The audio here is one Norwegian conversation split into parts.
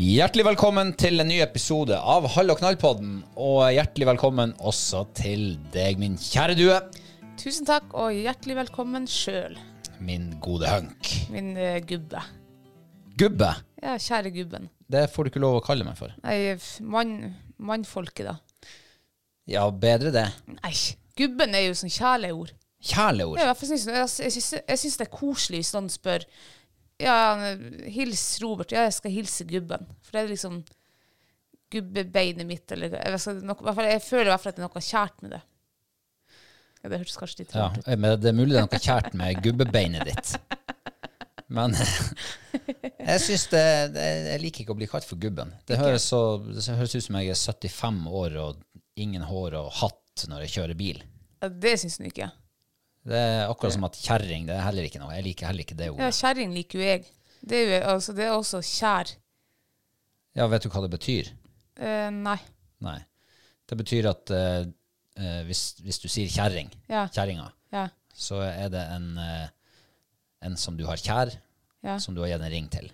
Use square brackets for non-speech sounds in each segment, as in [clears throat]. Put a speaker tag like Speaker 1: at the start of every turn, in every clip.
Speaker 1: Hjertelig velkommen til en ny episode av Hall og knall-podden. Og hjertelig velkommen også til deg, min kjære due.
Speaker 2: Tusen takk, og hjertelig velkommen sjøl,
Speaker 1: Min gode hunk.
Speaker 2: min eh, gubbe.
Speaker 1: Gubbe.
Speaker 2: Ja, kjære gubben.
Speaker 1: Det får du ikke lov å kalle meg for.
Speaker 2: Nei, f- mann, mannfolket, da.
Speaker 1: Ja, bedre det.
Speaker 2: Nei, gubben er jo sånn kjæleord.
Speaker 1: Kjæleord.
Speaker 2: Ja, jeg syns, jeg, synes- jeg synes det er koselig hvis noen spør Ja, hils Robert. Ja, jeg skal hilse gubben. For det er liksom gubbebeinet mitt, eller jeg, vet ikke, noe, i hvert fall- jeg føler i hvert fall at det er noe kjært med det. Ja, det hørtes kanskje litt
Speaker 1: Ja,
Speaker 2: rart ut.
Speaker 1: men det er mulig det er noe kjært med gubbebeinet ditt. Men eh, jeg syns det, det Jeg liker ikke å bli kalt for gubben. Det høres, så, det høres ut som jeg er 75 år og ingen hår og hatt når jeg kjører bil.
Speaker 2: Ja, det syns han ikke.
Speaker 1: Det er akkurat som at kjerring det er heller ikke noe. Jeg liker heller ikke det ordet.
Speaker 2: Ja, kjerring liker jo jeg. Det er jo altså, det er også kjær.
Speaker 1: Ja, vet du hva det betyr?
Speaker 2: Eh, nei.
Speaker 1: Nei. Det betyr at eh, eh, hvis, hvis du sier kjerring,
Speaker 2: Ja.
Speaker 1: kjerringa,
Speaker 2: Ja.
Speaker 1: så er det en, eh, en som du har kjær,
Speaker 2: Ja.
Speaker 1: som du har gitt en ring til.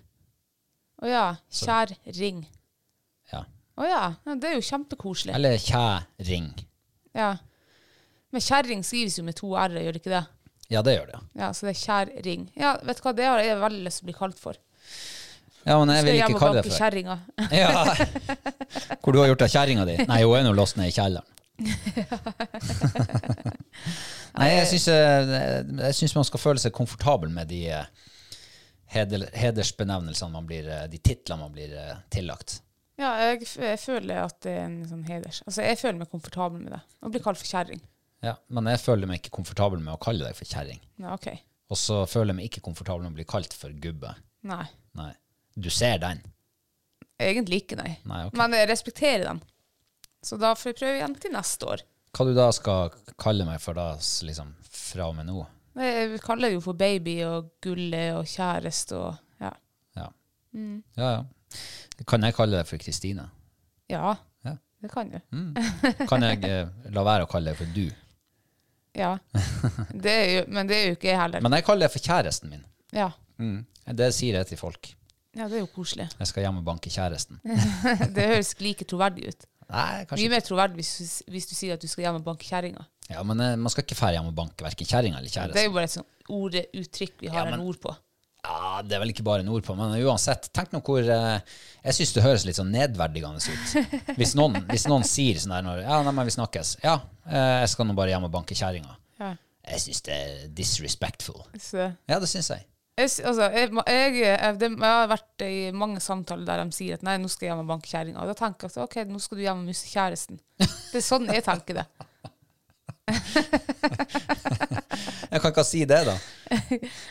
Speaker 2: Å ja. Kjær ring.
Speaker 1: Ja.
Speaker 2: Å ja. ja. Det er jo kjempekoselig.
Speaker 1: Eller kjæring.
Speaker 2: Ja. Men kjerring skrives jo med to r-er, gjør det ikke det?
Speaker 1: Ja, det gjør det.
Speaker 2: Ja, Så det er kjerring. Ja, vet du hva, det har jeg veldig lyst til å bli kalt for.
Speaker 1: Ja, men jeg
Speaker 2: Skal
Speaker 1: vil
Speaker 2: hjem
Speaker 1: ikke
Speaker 2: og
Speaker 1: kalle
Speaker 2: banke
Speaker 1: det for
Speaker 2: kjerringa. [laughs]
Speaker 1: ja. Hvor du har gjort av kjerringa di? Nei, hun er nå låst ned i kjelleren. Nei, jeg syns, eh, jeg syns man skal føle seg komfortabel med de eh, heder, hedersbenevnelsene man blir eh, De titlene man blir eh, tillagt.
Speaker 2: Ja, jeg, f- jeg føler at det er en sånn heders... Altså, jeg føler meg komfortabel med det. Å bli kalt for kjerring.
Speaker 1: Ja, men jeg føler meg ikke komfortabel med å kalle deg for kjerring.
Speaker 2: Ja, OK.
Speaker 1: Og så føler jeg meg ikke komfortabel med å bli kalt for gubbe.
Speaker 2: Nei.
Speaker 1: Nei. Du ser den.
Speaker 2: Egentlig ikke, nei.
Speaker 1: Nei, ok.
Speaker 2: Men jeg respekterer dem. Så da får jeg prøve igjen til neste år.
Speaker 1: Hva du da skal kalle meg for da, s- liksom, fra og med nå?
Speaker 2: Jeg kaller det jo for baby og gulle og kjæreste og ja.
Speaker 1: Ja. ja, ja. Kan jeg kalle deg for Kristine?
Speaker 2: Ja,
Speaker 1: Ja. Mm.
Speaker 2: det kan du.
Speaker 1: Kan jeg eh, la være å kalle deg for du? [laughs]
Speaker 2: Ja. Det er jo, men det er jo ikke jeg heller.
Speaker 1: Men jeg kaller deg for kjæresten min.
Speaker 2: Ja.
Speaker 1: Det sier jeg til folk.
Speaker 2: ja, det er jo koselig.
Speaker 1: Jeg skal hjem og banke kjæresten.
Speaker 2: Det høres like troverdig ut.
Speaker 1: Nei, kanskje
Speaker 2: Mye
Speaker 1: ikke.
Speaker 2: mer troverdig hvis, du- hvis du sier at du skal hjem og banke kjerringa.
Speaker 1: Ja, men eh, man skal ikke fære hjem og banke verken kjerringa eller
Speaker 2: Det er
Speaker 1: kjæresten.
Speaker 2: jo bare et sånt orduttrykk vi har
Speaker 1: Ja, men-
Speaker 2: en ord på.
Speaker 1: Ja, det er vel ikke bare nord på, men uansett. Tenk nå hvor eh, Jeg syns det høres litt sånn nedverdigende ut. Hvis noen, hvis noen sier sånn der når Ja, nei, men vi snakkes. Ja, eh, jeg skal nå bare hjem og banke kjerringa.
Speaker 2: Ja.
Speaker 1: Jeg syns det er disrespectful.
Speaker 2: Så,
Speaker 1: Ja, det syns jeg.
Speaker 2: Jeg, s- altså, jeg, må- jeg, jeg, det, jeg har vært i mange samtaler der de sier at nei, nå skal jeg hjem og banke kjerringa. Og Da tenker jeg at ok, nå skal du hjem og miste kjæresten. Det er sånn jeg tenker det.
Speaker 1: Jeg kan ikke si det, da.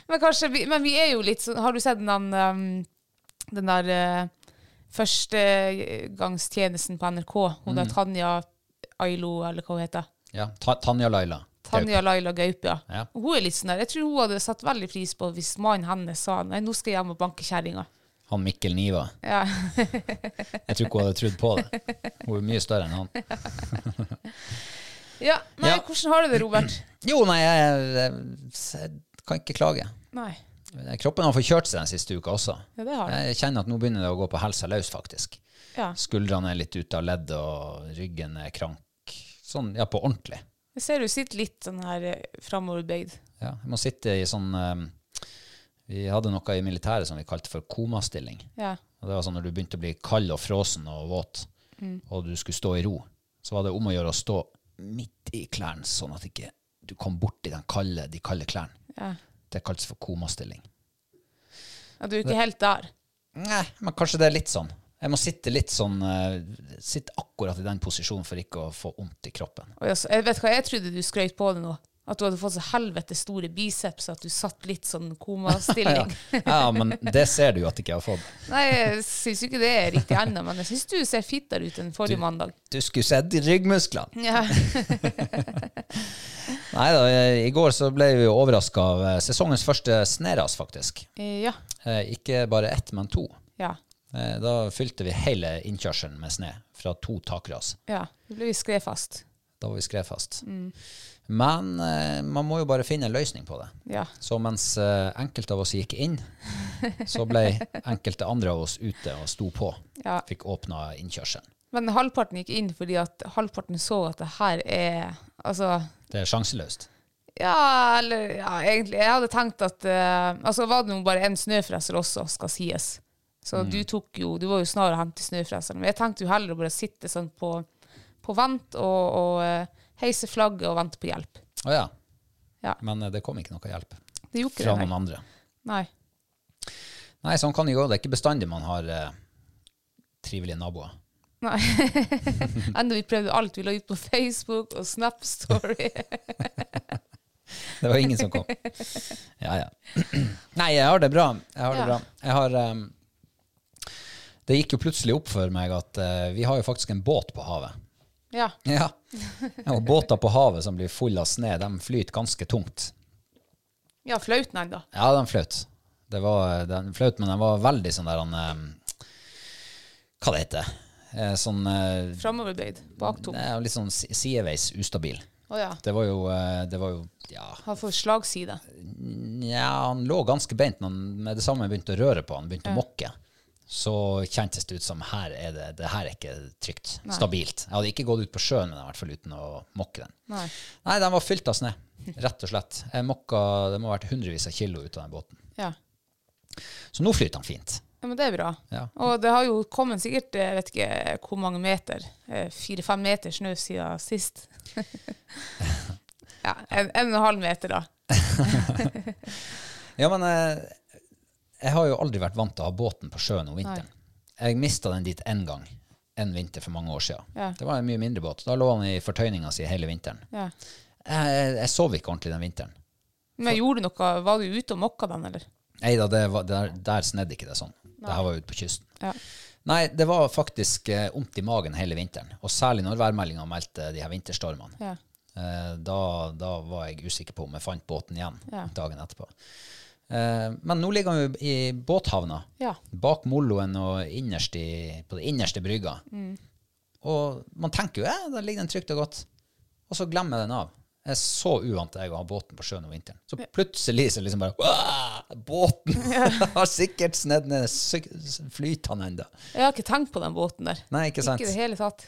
Speaker 2: Men kanskje, vi, men vi er jo litt sånn Har du sett den, um, den der uh, førstegangstjenesten på NRK? Hun
Speaker 1: Mm.
Speaker 2: der Tanja Ailo, eller hva hun heter.
Speaker 1: Ja. Ta Tanja Laila.
Speaker 2: Tanja Laila Gaupe, ja.
Speaker 1: Ja.
Speaker 2: Hun er litt sånn der. Jeg tror hun hadde satt veldig pris på hvis mannen hennes sa nei, nå skal jeg hjem og banke kjerringa.
Speaker 1: Han Mikkel Niva.
Speaker 2: Ja. [laughs]
Speaker 1: Jeg tror ikke hun hadde trodd på det. Hun er mye større enn han.
Speaker 2: ja. Nei,
Speaker 1: Ja.
Speaker 2: hvordan har du det, Robert?
Speaker 1: [clears throat] Jo, nei, jeg, jeg, jeg kan ikke klage.
Speaker 2: Nei.
Speaker 1: Kroppen har forkjørt seg den siste uka også.
Speaker 2: Ja, det har den.
Speaker 1: Jeg kjenner at nå begynner det å gå på helsa løs, faktisk.
Speaker 2: Ja.
Speaker 1: Skuldrene er litt ute av ledd, og ryggen er krank. Sånn, ja, på ordentlig.
Speaker 2: Jeg ser du sitter litt sånn her eh, framoverbøyd.
Speaker 1: Ja, jeg må sitte i sånn eh, Vi hadde noe i militæret som vi kalte for komastilling.
Speaker 2: Ja.
Speaker 1: Og det var sånn når du begynte å bli kald og frosen og våt, og du skulle stå i ro, så var det om å gjøre å stå midt i klærne, sånn at ikke du kom borti den kalde, de kalde klærne.
Speaker 2: Ja.
Speaker 1: Det kalles for komastilling.
Speaker 2: ja. Du er ikke helt der.
Speaker 1: Nei, men kanskje det er litt sånn. Jeg må sitte litt sånn eh, Sitte akkurat i den posisjonen for ikke å få vondt i kroppen.
Speaker 2: Og jeg, jeg vet hva, jeg trodde du skrøt på det nå. At du hadde fått så helvete store biceps at du satt litt sånn
Speaker 1: Ja,
Speaker 2: [laughs] komastilling.
Speaker 1: ja men det ser du jo at ikke jeg har fått.
Speaker 2: Nei, jeg syns jo ikke det er riktig ennå, men jeg syns du ser fittere ut enn forrige mandag.
Speaker 1: Du skulle sett ryggmusklene.
Speaker 2: Ja.
Speaker 1: Nei da, i går så ble vi overraska av eh, sesongens første sneras, faktisk.
Speaker 2: Eh, ja.
Speaker 1: Eh, Ikke bare ett, men to.
Speaker 2: Ja.
Speaker 1: Eh, Da fylte vi hele innkjørselen med sne fra to takras.
Speaker 2: ja. Nå ble vi skredfast.
Speaker 1: Da var vi skredfast.
Speaker 2: Mm.
Speaker 1: Men eh, man må jo bare finne en løsning på det.
Speaker 2: Ja.
Speaker 1: Så mens eh, enkelte av oss gikk
Speaker 2: [laughs]
Speaker 1: inn, så ble enkelte andre av oss ute og sto på.
Speaker 2: Ja.
Speaker 1: Fikk åpna innkjørselen.
Speaker 2: Men halvparten gikk inn fordi at halvparten så at det her er Altså
Speaker 1: Det er sjanseløst.
Speaker 2: Ja, eller ja, egentlig. Jeg hadde tenkt at eh, Altså, var det nå bare en snøfreser også, skal sies. Så
Speaker 1: Mm.
Speaker 2: du tok jo Du var jo snar å hente snøfreseren. Men jeg tenkte jo heller å bare sitte sånn på, på vent og, og eh, heise flagget og vente på hjelp.
Speaker 1: Å ja.
Speaker 2: Ja.
Speaker 1: Men eh, det kom ikke noe hjelp
Speaker 2: Det gjorde
Speaker 1: fra
Speaker 2: ikke det.
Speaker 1: noen
Speaker 2: Nei.
Speaker 1: andre.
Speaker 2: nei.
Speaker 1: Nei, sånn kan det gå. Det er ikke bestandig man har eh, trivelige naboer.
Speaker 2: [laughs] Enda vi prøvde alt. Vi la ut på Facebook og Snap Story.
Speaker 1: Det var ingen som kom. Ja, [clears throat] ja. Nei, jeg har det bra. Jeg har det
Speaker 2: Ja.
Speaker 1: bra. Jeg har eh, Det gikk jo plutselig opp for meg at eh, vi har jo faktisk en båt på havet.
Speaker 2: [laughs] ja.
Speaker 1: Ja. [laughs] Og båter på havet som blir fulle av sne, de flyter ganske tungt.
Speaker 2: ja, flauten ennå.
Speaker 1: Ja, den fløt. Det var, eh, den fløt, men den var veldig sånn der han eh, Hva det heter Eh, Sånn eh,
Speaker 2: Framoverbøyd. Baktom.
Speaker 1: nei, Litt sånn si- sideveis ustabil.
Speaker 2: Å ja.
Speaker 1: Det var jo, eh, det var jo ja,
Speaker 2: Han får slagside.
Speaker 1: nja, han lå ganske beint, men han- med det samme jeg begynte å røre på han, begynte å mokke, så kjentes det ut som her er det, det her er ikke trygt. Stabilt. Jeg hadde ikke gått ut på sjøen med den, i hvert fall uten å mokke den.
Speaker 2: Nei.
Speaker 1: Nei, den var fylt av snø, rett og slett. Jeg mokka, det må ha vært hundrevis av kilo ut av den båten.
Speaker 2: Ja.
Speaker 1: Så nå flyter den fint.
Speaker 2: Ja, men det er bra.
Speaker 1: Ja.
Speaker 2: Og det har jo kommet sikkert jeg vet ikke hvor mange meter, eh, fire-fem meter snø siden
Speaker 1: [laughs]
Speaker 2: sist. ja, en, en og en halv meter da.
Speaker 1: Ja, men eh, jeg har jo aldri vært vant til å ha båten på sjøen om vinteren. Jeg mista den dit én gang, en vinter for mange år siden.
Speaker 2: Ja.
Speaker 1: Det var en mye mindre båt. Da lå han i fortøyninga si hele vinteren.
Speaker 2: Ja.
Speaker 1: Jeg, jeg, jeg sov ikke ordentlig den vinteren.
Speaker 2: Men gjorde du noe, var du ute og mokka den, eller?
Speaker 1: Nei da, det var, der, der snedde ikke det sånn. Det her var ute på kysten.
Speaker 2: Ja.
Speaker 1: Nei, det var faktisk eh, vondt i magen hele vinteren. Og særlig når værmeldinga meldte de her vinterstormene.
Speaker 2: Ja.
Speaker 1: Eh, da, da var jeg usikker på om jeg fant båten igjen
Speaker 2: Ja.
Speaker 1: dagen etterpå. Eh, men nå ligger han jo i båthavna,
Speaker 2: Ja.
Speaker 1: bak moloen og innerst i, på det innerste brygga.
Speaker 2: Mm.
Speaker 1: Og man tenker jo eh, der ligger den trygt og godt. Og så glemmer jeg den av. Jeg er så uvant til jeg å ha båten på sjøen om vinteren. Så plutselig så liksom bare «Wow, Båten
Speaker 2: [laughs]
Speaker 1: [laughs] har sikkert snedd ned. syk- Flyter han ennå?
Speaker 2: Jeg har ikke tenkt på den båten der.
Speaker 1: Nei, ikke sant.
Speaker 2: Ikke i det hele tatt.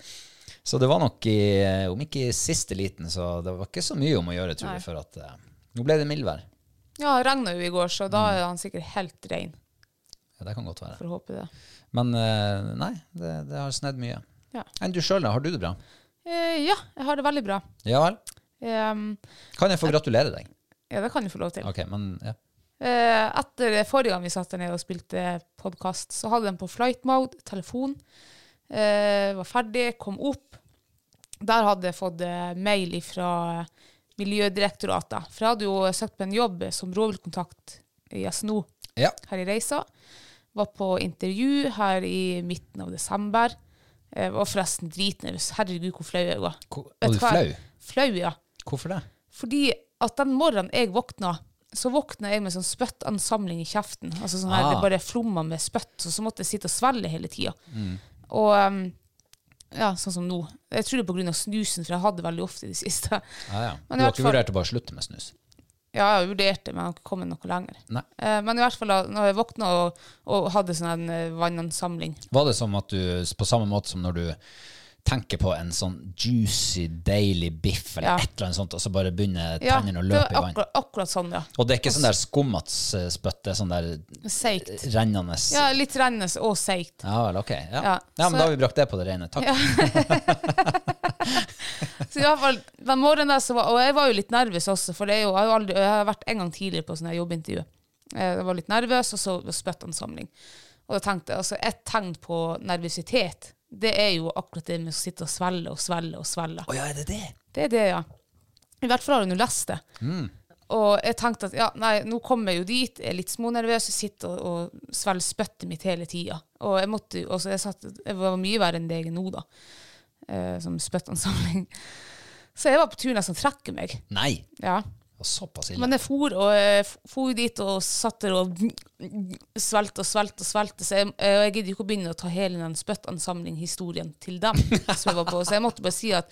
Speaker 1: Så det var nok i, eh, om ikke i siste liten, så det var ikke så mye om å gjøre, tror jeg, for at eh, nå ble det mildvær.
Speaker 2: Ja, det regnet jo i går, så da er han sikkert helt ren,
Speaker 1: Ja, det kan godt være.
Speaker 2: for å håpe det.
Speaker 1: Men eh, nei, det, det har snedd mye.
Speaker 2: Ja.
Speaker 1: Enn du sjøl, da? Har du det bra?
Speaker 2: Eh, ja, jeg har det veldig bra.
Speaker 1: Ja vel?
Speaker 2: Ehm,
Speaker 1: Kan jeg få gratulere deg?
Speaker 2: ja, det kan du få lov til.
Speaker 1: Ok, men ja.
Speaker 2: Eh, etter forrige gang vi satt der nede og spilte podkast, så hadde de på flight mode, telefon. Eh, var ferdig, kom opp. Der hadde jeg fått eh, mail fra Miljødirektoratet. For jeg hadde jo søkt på en jobb som rovviltkontakt i SNO
Speaker 1: Ja.
Speaker 2: her i reisa. Var på intervju her i midten av desember. Jeg var forresten dritnervøs. Herregud, hvor flau jeg var.
Speaker 1: Hvor-
Speaker 2: Vet
Speaker 1: Var du
Speaker 2: hva?
Speaker 1: flau?
Speaker 2: Flau, ja.
Speaker 1: Hvorfor det?
Speaker 2: Fordi at den morgenen jeg våkna, så våkna jeg med sånn spyttansamling i kjeften. Altså sånn her,
Speaker 1: Ah.
Speaker 2: Det bare flomma med spytt, og så måtte jeg sitte og svelge hele tida.
Speaker 1: Mm.
Speaker 2: Og um, ja, sånn som nå. Jeg tror det er pga. snusen, for jeg hadde veldig ofte i det siste.
Speaker 1: Ja, ja.
Speaker 2: Men
Speaker 1: Du
Speaker 2: i
Speaker 1: har
Speaker 2: hvert
Speaker 1: ikke
Speaker 2: fall-
Speaker 1: vurdert å bare slutte med snus?
Speaker 2: [laughs] Ja, jeg vurderte, men jeg har ikke kommet noe lenger.
Speaker 1: Nei.
Speaker 2: Eh, men i hvert fall da når jeg våkna og, og hadde sånn en eh, vannansamling
Speaker 1: Var det som at du, på samme måte som når du tenker på en sånn juicy, deilig biff eller
Speaker 2: Ja.
Speaker 1: et eller annet sånt, og så bare begynner
Speaker 2: Ja,
Speaker 1: tennene å
Speaker 2: det
Speaker 1: løpe i
Speaker 2: var
Speaker 1: vann?
Speaker 2: akkurat, akkurat sånn, ja.
Speaker 1: Og det er ikke sånn der skummatspytt, det er sånn der
Speaker 2: Seigt.
Speaker 1: rennende
Speaker 2: Ja, litt rennende og seigt.
Speaker 1: Ja vel, ok. Ja, ja.
Speaker 2: Ja,
Speaker 1: men
Speaker 2: så-
Speaker 1: da har vi brakt det på det rene. Takk.
Speaker 2: Så i hvert fall, den morgenen der, så var, og jeg var jo litt nervøs også, for det er jo, jeg, har jo aldri, jeg har vært en gang tidligere på sånne her jobbintervju. Eh, Jeg var litt nervøs, og så spyttansamling. Og da tenkte jeg, altså, et tegn på nervøsitet, det er jo akkurat det med å sitte og svelle og svelle og svelle.
Speaker 1: Å ja, er det det?
Speaker 2: Det er det, ja. I hvert fall har hun jo lest det. Og jeg tenkte at ja, nei, nå kommer jeg jo dit, jeg er litt smånervøs, jeg sitter og, og svelger spyttet mitt hele tida. Og jeg måtte jo også, jeg, satt, jeg var mye verre enn deg nå, da. Eh, som spyttansamling. [laughs] Så jeg var på tur nesten å trekke meg.
Speaker 1: Nei.
Speaker 2: Ja.
Speaker 1: Og såpass ille.
Speaker 2: Men jeg for, og jeg f- for dit og satt der og svelte og svelte og svelte. Så jeg, eh, og jeg gidder jo ikke å begynne å ta hele den spyttansamling-historien til dem. som jeg var på. Så jeg måtte bare si at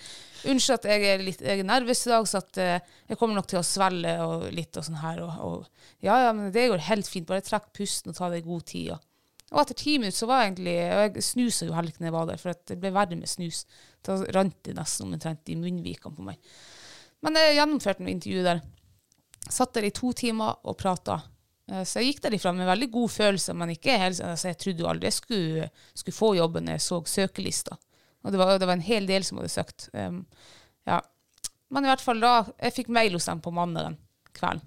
Speaker 2: unnskyld at jeg er litt jeg er nervøs i dag, så at eh, jeg kommer nok til å svelle og litt og sånn her. Og, og, ja, ja, men det går helt fint. Bare trekk pusten og ta deg god tid. Og, og etter ti minutter så var jeg egentlig Og jeg snusa jo heller ikke når jeg var der, for at det ble verre med snus. Da rant det nesten omtrent i munnvikene på meg. Men jeg gjennomførte noe intervju der. Satt der i to timer og prata. Så jeg gikk derifra med veldig god følelse, men ikke helt, altså jeg trodde jo aldri jeg skulle, skulle få jobben når jeg så søkelista. Og det var, det var en hel del som hadde søkt. Um, ja. Men i hvert fall da, jeg fikk mail hos dem på mandagen kvelden.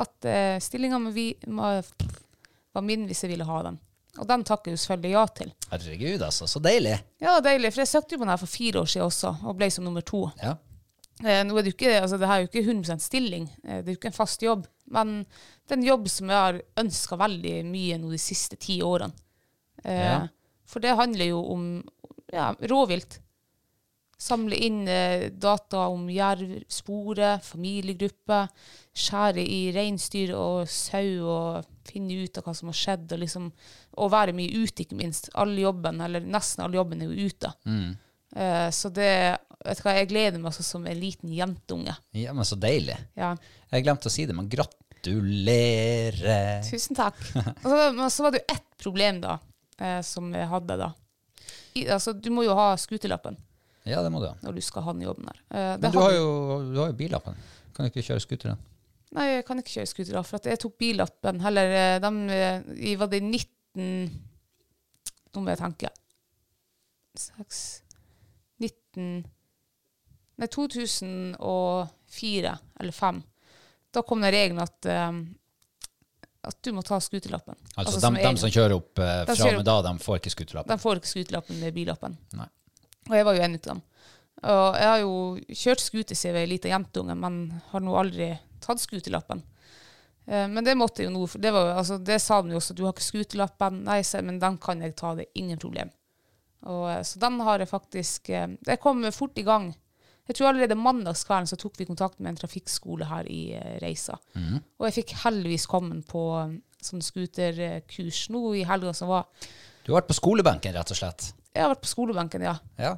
Speaker 2: At uh, stillinga var min hvis jeg ville ha den. Og den takker jeg jo selvfølgelig ja til.
Speaker 1: Herregud, altså. Så deilig.
Speaker 2: Ja, deilig, for jeg søkte jo på den her for fire år siden også, og ble som nummer to.
Speaker 1: Ja.
Speaker 2: Eh, nå er det, jo ikke, altså, det her er jo ikke 100 stilling, eh, det er jo ikke en fast jobb. Men det er en jobb som jeg har ønska veldig mye nå de siste ti årene. Eh,
Speaker 1: Ja.
Speaker 2: For det handler jo om ja, rovvilt. Samle inn eh, data om jervsporet, familiegrupper. Skjære i reinsdyr og sau og finne ut av hva som har skjedd. Og, liksom, og være mye ute, ikke minst. All jobben, eller Nesten all jobben er jo ute. Eh, så det vet du hva, Jeg gleder meg sånn som en liten jentunge.
Speaker 1: ja, men så deilig.
Speaker 2: Ja.
Speaker 1: Jeg glemte å si det, men gratulerer.
Speaker 2: Tusen takk. Og så, men så var det jo ett problem da, eh, som jeg hadde da. I, altså, du må jo ha skuterlappen
Speaker 1: Ja, det må du ha.
Speaker 2: når du skal ha den jobben der. Eh, det
Speaker 1: Men du
Speaker 2: hadde-
Speaker 1: har jo, du har jo billappen. Kan du ikke kjøre scooteren?
Speaker 2: Nei, jeg kan ikke kjøre scooter, da, for at jeg tok billappen heller eh, dem, eh, i Var det 19 Nå må jeg tenke. 6 19 Nei, 2004 eller 5. Da kom den regelen at eh, at du må ta skuterlappen.
Speaker 1: Altså, dem,
Speaker 2: egen.
Speaker 1: dem som kjører opp eh, fra
Speaker 2: De
Speaker 1: og
Speaker 2: kjører
Speaker 1: med da, de får ikke scooterlapp.
Speaker 2: De får ikke skuterlappen med billappen.
Speaker 1: Nei.
Speaker 2: Og jeg var jo en av dem. Og jeg har jo kjørt scooter siden jeg var ei lita jentunge, men har nå aldri tatt skuterlappen. Eh, Men det måtte jeg jo nå, for det, var, jo- altså, det sa de jo også, du har ikke skuterlappen. Nei, sa jeg, men den kan jeg ta, det er ingen problem. Og, eh, så den har jeg faktisk eh, Jeg kom fort i gang. Jeg tror allerede mandagskvelden så tok vi kontakt med en trafikkskole her i eh, Reisa. Og jeg fikk heldigvis komme på eh, sånn skuterkurs nå i helga som var.
Speaker 1: Du har vært på skolebenken, rett og slett.
Speaker 2: Jeg har vært på skolebenken, ja.
Speaker 1: Ja.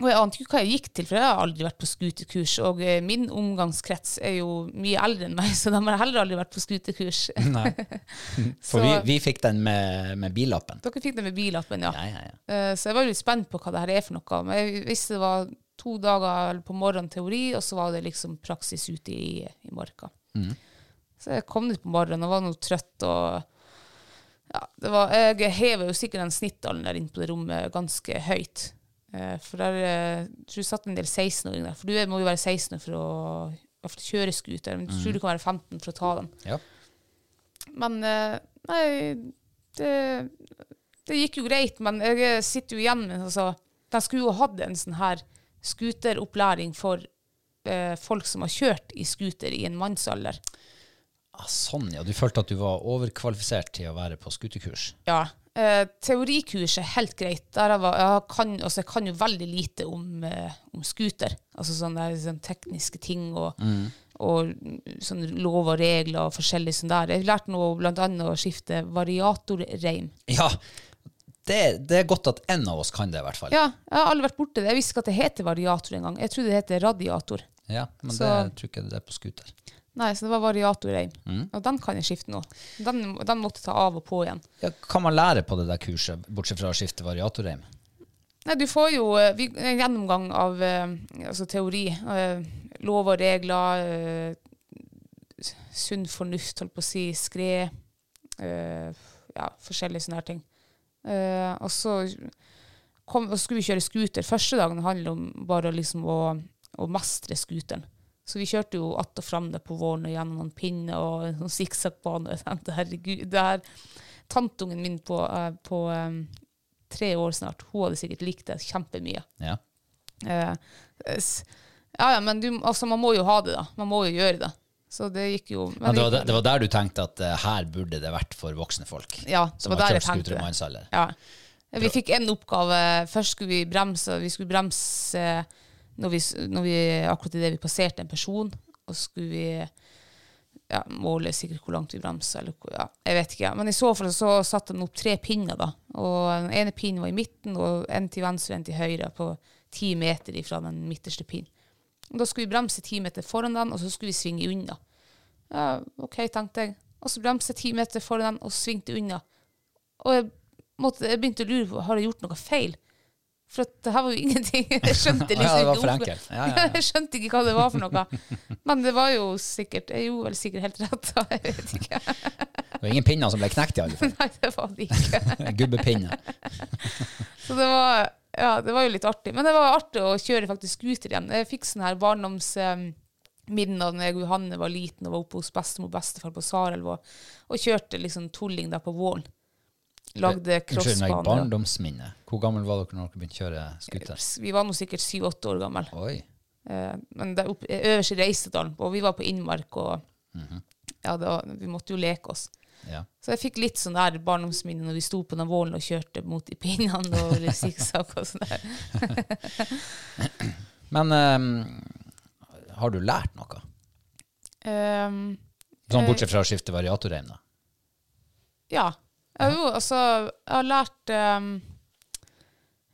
Speaker 2: Og jeg ante ikke hva jeg gikk til, for jeg har aldri vært på skuterkurs. Og eh, min omgangskrets er jo mye eldre enn meg, [laughs] så de har heller aldri vært på skuterkurs.
Speaker 1: Nei. For
Speaker 2: Så-
Speaker 1: vi, vi fikk den med, med billappen.
Speaker 2: Dere fikk det med billappen, ja.
Speaker 1: Ja, ja, ja.
Speaker 2: Eh, Så jeg var jo litt spent på hva det her er for noe. Men jeg visste det var to dager eller på morgenen teori, og så var det liksom praksis ute i, i marka. Så jeg kom dit på morgenen og var nå trøtt og ja, det var, Jeg hever jo sikkert den snittalderen der inne på det rommet ganske høyt. Eh, For der eh, tror jeg satt en del 16-åringer der. For du er- må jo være 16 år for å, for å kjøre scooter, men du tror du kan være 15 for å ta den.
Speaker 1: Ja.
Speaker 2: Men eh, nei, det, det gikk jo greit, men jeg sitter jo igjen med altså, De skulle jo hatt en sånn her skuteropplæring for eh, folk som har kjørt i skuter i en mannsalder.
Speaker 1: Ah, sånn, ja. Du følte at du var overkvalifisert til å være på skuterkurs?
Speaker 2: Ja. Eh, teorikurs er helt greit. Der jeg, var, jeg, kan, altså, jeg kan jo veldig lite om, eh, om scooter. Altså sånne der, sånn tekniske ting og, og sånn lov og regler og forskjellig sånn der. Jeg lærte nå blant annet å skifte variatorreim.
Speaker 1: Ja! Det, det er godt at en av oss kan det, i hvert fall.
Speaker 2: Ja, jeg har aldri vært borte det. Jeg visste ikke at det heter variator engang. Jeg trodde det heter radiator.
Speaker 1: Ja, men det
Speaker 2: Så-
Speaker 1: tror ikke det er på skuter.
Speaker 2: Nei, så det var variatorreim. Og den kan jeg skifte nå. Den, den måtte jeg ta av og på igjen.
Speaker 1: Ja, kan man lære på det der kurset, bortsett fra å skifte variatorreim?
Speaker 2: Nei, du får jo eh, vi, en gjennomgang av eh, altså teori, eh, lov og regler, eh, s- sunn fornuft, holdt på å si, skred, eh, ja, forskjellige sånne her ting. Eh, og så kom, og så skulle vi kjøre scooter. Første dagen handler om bare liksom å, å mestre scooteren. Så vi kjørte jo att og fram det på våren og gjennom noen pinner og en sånn sikksakkbane. Jeg tenkte, [laughs] Herregud, det her Tantungen min på, eh, på eh, tre år snart, hun hadde sikkert likt det kjempemye.
Speaker 1: Ja.
Speaker 2: Eh, s- ja, ja, men du, altså, man må jo ha det, da. Man må jo gjøre det. Så det gikk jo men
Speaker 1: Men det, var,
Speaker 2: gikk-
Speaker 1: der- det var der du tenkte at eh, her burde det vært for voksne folk?
Speaker 2: Ja, det
Speaker 1: som
Speaker 2: var der
Speaker 1: har
Speaker 2: jeg
Speaker 1: kjørt
Speaker 2: tenkte
Speaker 1: skuter i
Speaker 2: det.
Speaker 1: mannsalder?
Speaker 2: Ja. Vi fikk en oppgave. Først skulle vi bremse. Vi skulle bremse når vi, når vi, akkurat idet vi passerte en person. Og så skulle vi ja, måle sikkert hvor langt vi bremsa. Eller, hvor- ja, jeg vet ikke. Men i så fall så satte han opp tre pinner. da. Og Den ene pinnen var i midten, og en til venstre og en til høyre på ti meter ifra den midterste pinnen. Og Da skulle vi bremse ti meter foran den, og så skulle vi svinge unna. Ja, OK, tenkte jeg. Og så bremse ti meter foran den, og svingte unna. Og jeg, måtte, jeg begynte å lure på har jeg gjort noe feil. For at det her var jo [laughs] ingenting. Jeg skjønte
Speaker 1: Ja, det
Speaker 2: liksom
Speaker 1: var
Speaker 2: ikke
Speaker 1: for
Speaker 2: opp-
Speaker 1: enkelt. Ja, ja, ja.
Speaker 2: [laughs] Jeg skjønte ikke hva det var for noe. Men det var jo sikkert Jeg gjorde vel sikkert helt rett, da. Jeg vet ikke. [laughs]
Speaker 1: Det var ingen pinner som ble knekt, i alle fall.
Speaker 2: Nei, det var det ikke.
Speaker 1: Gubbepinner.
Speaker 2: Så det var, ja, det var jo litt artig. Men det var artig å kjøre faktisk scooter igjen. Jeg fikk sånn her barndomsminner da jeg og Johanne var liten og var oppe hos bestemor og bestefar på Sarelv og, og kjørte liksom tulling da på våren. Lagde
Speaker 1: Unnskyld meg,
Speaker 2: crossbane.
Speaker 1: barndomsminne. Hvor gammel var dere når dere begynte å kjøre skuter?
Speaker 2: Vi var nå sikkert syv-åtte år gamle.
Speaker 1: Oi.
Speaker 2: Eh, men det er opp, øverst i Reisedalen, og vi var på innmark, og ja, det var, vi måtte jo leke oss.
Speaker 1: Ja.
Speaker 2: Så jeg fikk litt sånn der barndomsminne når vi sto på den vålen og kjørte mot de pinnene og litt sikksakk og sånn der.
Speaker 1: Men eh, har du lært noe?
Speaker 2: Ehm,
Speaker 1: Sånn bortsett fra å skifte variatorreim, da.
Speaker 2: ja. Jeg har jo, altså, jeg har lært ehm,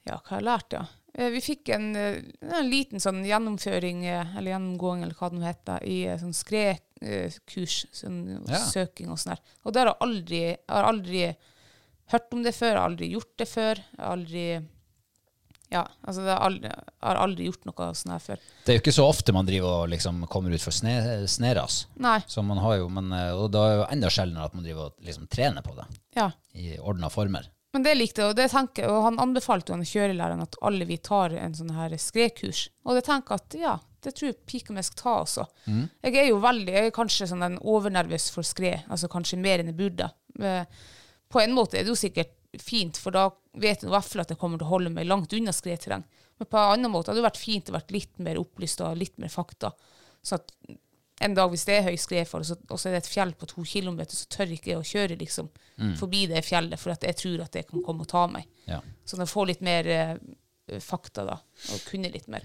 Speaker 2: Ja, hva har jeg lært, ja? Eh, Vi fikk en, eh, en liten sånn gjennomføring, eh, eller gjennomgåing, eller hva det nå heter, i eh, sånn skredkurs, sånn
Speaker 1: Ja.
Speaker 2: søking og sånn der. Og der har jeg aldri, jeg har aldri hørt om det før, jeg har aldri gjort det før, jeg har aldri Ja, altså, jeg har aldri, jeg har aldri gjort noe sånn her før.
Speaker 1: Det er jo ikke så ofte man driver og liksom kommer ut for sne, sneras.
Speaker 2: Nei.
Speaker 1: Så man har jo, men, eh, og da er det jo enda sjeldnere at man driver og liksom trener på det
Speaker 2: Ja.
Speaker 1: i ordna former.
Speaker 2: Men det likte jeg, og det tenker jeg, og han anbefalte jo han kjørelæreren at alle vi tar en sånn her skredkurs. Og det tenker jeg at ja, det tror jeg pika mi skal ta også. Jeg er jo veldig, jeg er kanskje sånn en overnervøs for skred, altså kanskje mer enn jeg burde. Eh, På en måte er det jo sikkert fint, for da vet jeg i hvert fall at jeg kommer til å holde meg langt unna skredterreng. Men på en annen måte hadde det vært fint å vært litt mer opplyst og litt mer fakta. Så at en dag hvis det er høy skredfare, så- og så er det et fjell på to kilometer, så tør ikke jeg å kjøre liksom, forbi det fjellet, for at jeg tror at det kan komme og ta meg.
Speaker 1: Ja.
Speaker 2: Sånn at jeg får litt mer eh, fakta, da, og kunne litt mer.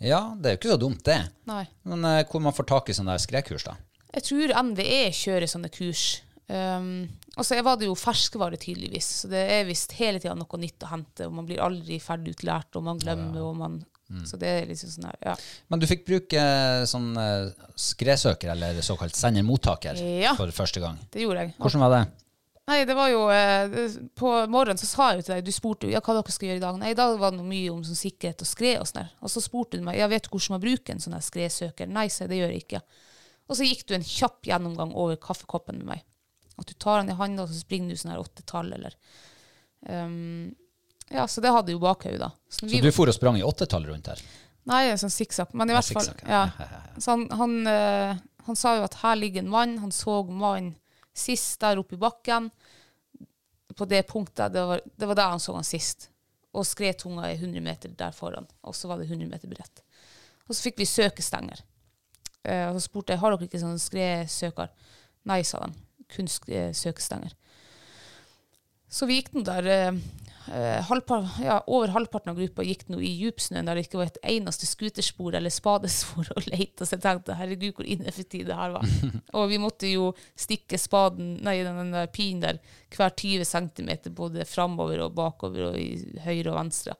Speaker 1: ja, det er jo ikke så dumt, det.
Speaker 2: Nei.
Speaker 1: Men eh, hvor man får tak i sånne der skredkurs, da?
Speaker 2: Jeg tror NVE kjører sånne kurs. Um, og så var det jo ferskvare, tydeligvis, så det er visst hele tida noe nytt å hente, og man blir aldri ferdig utlært, og man glemmer, og man Så det er liksom sånn her, ja.
Speaker 1: Men du fikk bruke eh, sånn eh, skredsøker, eller såkalt sender-mottaker,
Speaker 2: Ja.
Speaker 1: for første gang.
Speaker 2: Det gjorde jeg.
Speaker 1: Hvordan var det?
Speaker 2: Nei, det var jo eh, det- På morgenen så sa jeg jo til deg Du spurte jo ja, hva dere skal gjøre i dag. Nei, i dag var det noe mye om sånn sikkerhet og skred og sånn der. Og så spurte du meg ja, vet du hvordan man bruker en sånn her skredsøker. Nei, sa jeg, det gjør jeg ikke. Og så gikk du en kjapp gjennomgang over kaffekoppen med meg. At du tar den i handa, og så springer du sånn her åttetall, eller Ehm, Ja, så det hadde jo bakhodet, da. Så
Speaker 1: Så
Speaker 2: vi,
Speaker 1: du for og sprang i åttetall rundt her?
Speaker 2: nei, en sånn sikksakk. Men i hvert fall Sånn,
Speaker 1: sikksakk, [laughs] ja.
Speaker 2: ja. Så han, han, eh, han sa jo at her ligger en mann. Han så mannen Sist der oppe i bakken, på det punktet, det var, det var der han så han sist. Og skredtunga er 100 meter der foran, og så var det 100 meter bredt. Og så fikk vi søkestenger. Eh, og så spurte jeg har dere ikke sånn skredsøker. Nei, sa de. Kun sk- eh, søkestenger. Så vi gikk nå der eh, eh, halvpar, ja, Over halvparten av gruppa gikk nå i djupsnøen der det ikke var et eneste skuterspor eller spadespor å lete. Så jeg tenkte herregud, hvor ineffektivt det her var. og vi måtte jo stikke spaden, nei, den, den der pinen der hver 20 cm både framover og bakover og i høyre og venstre.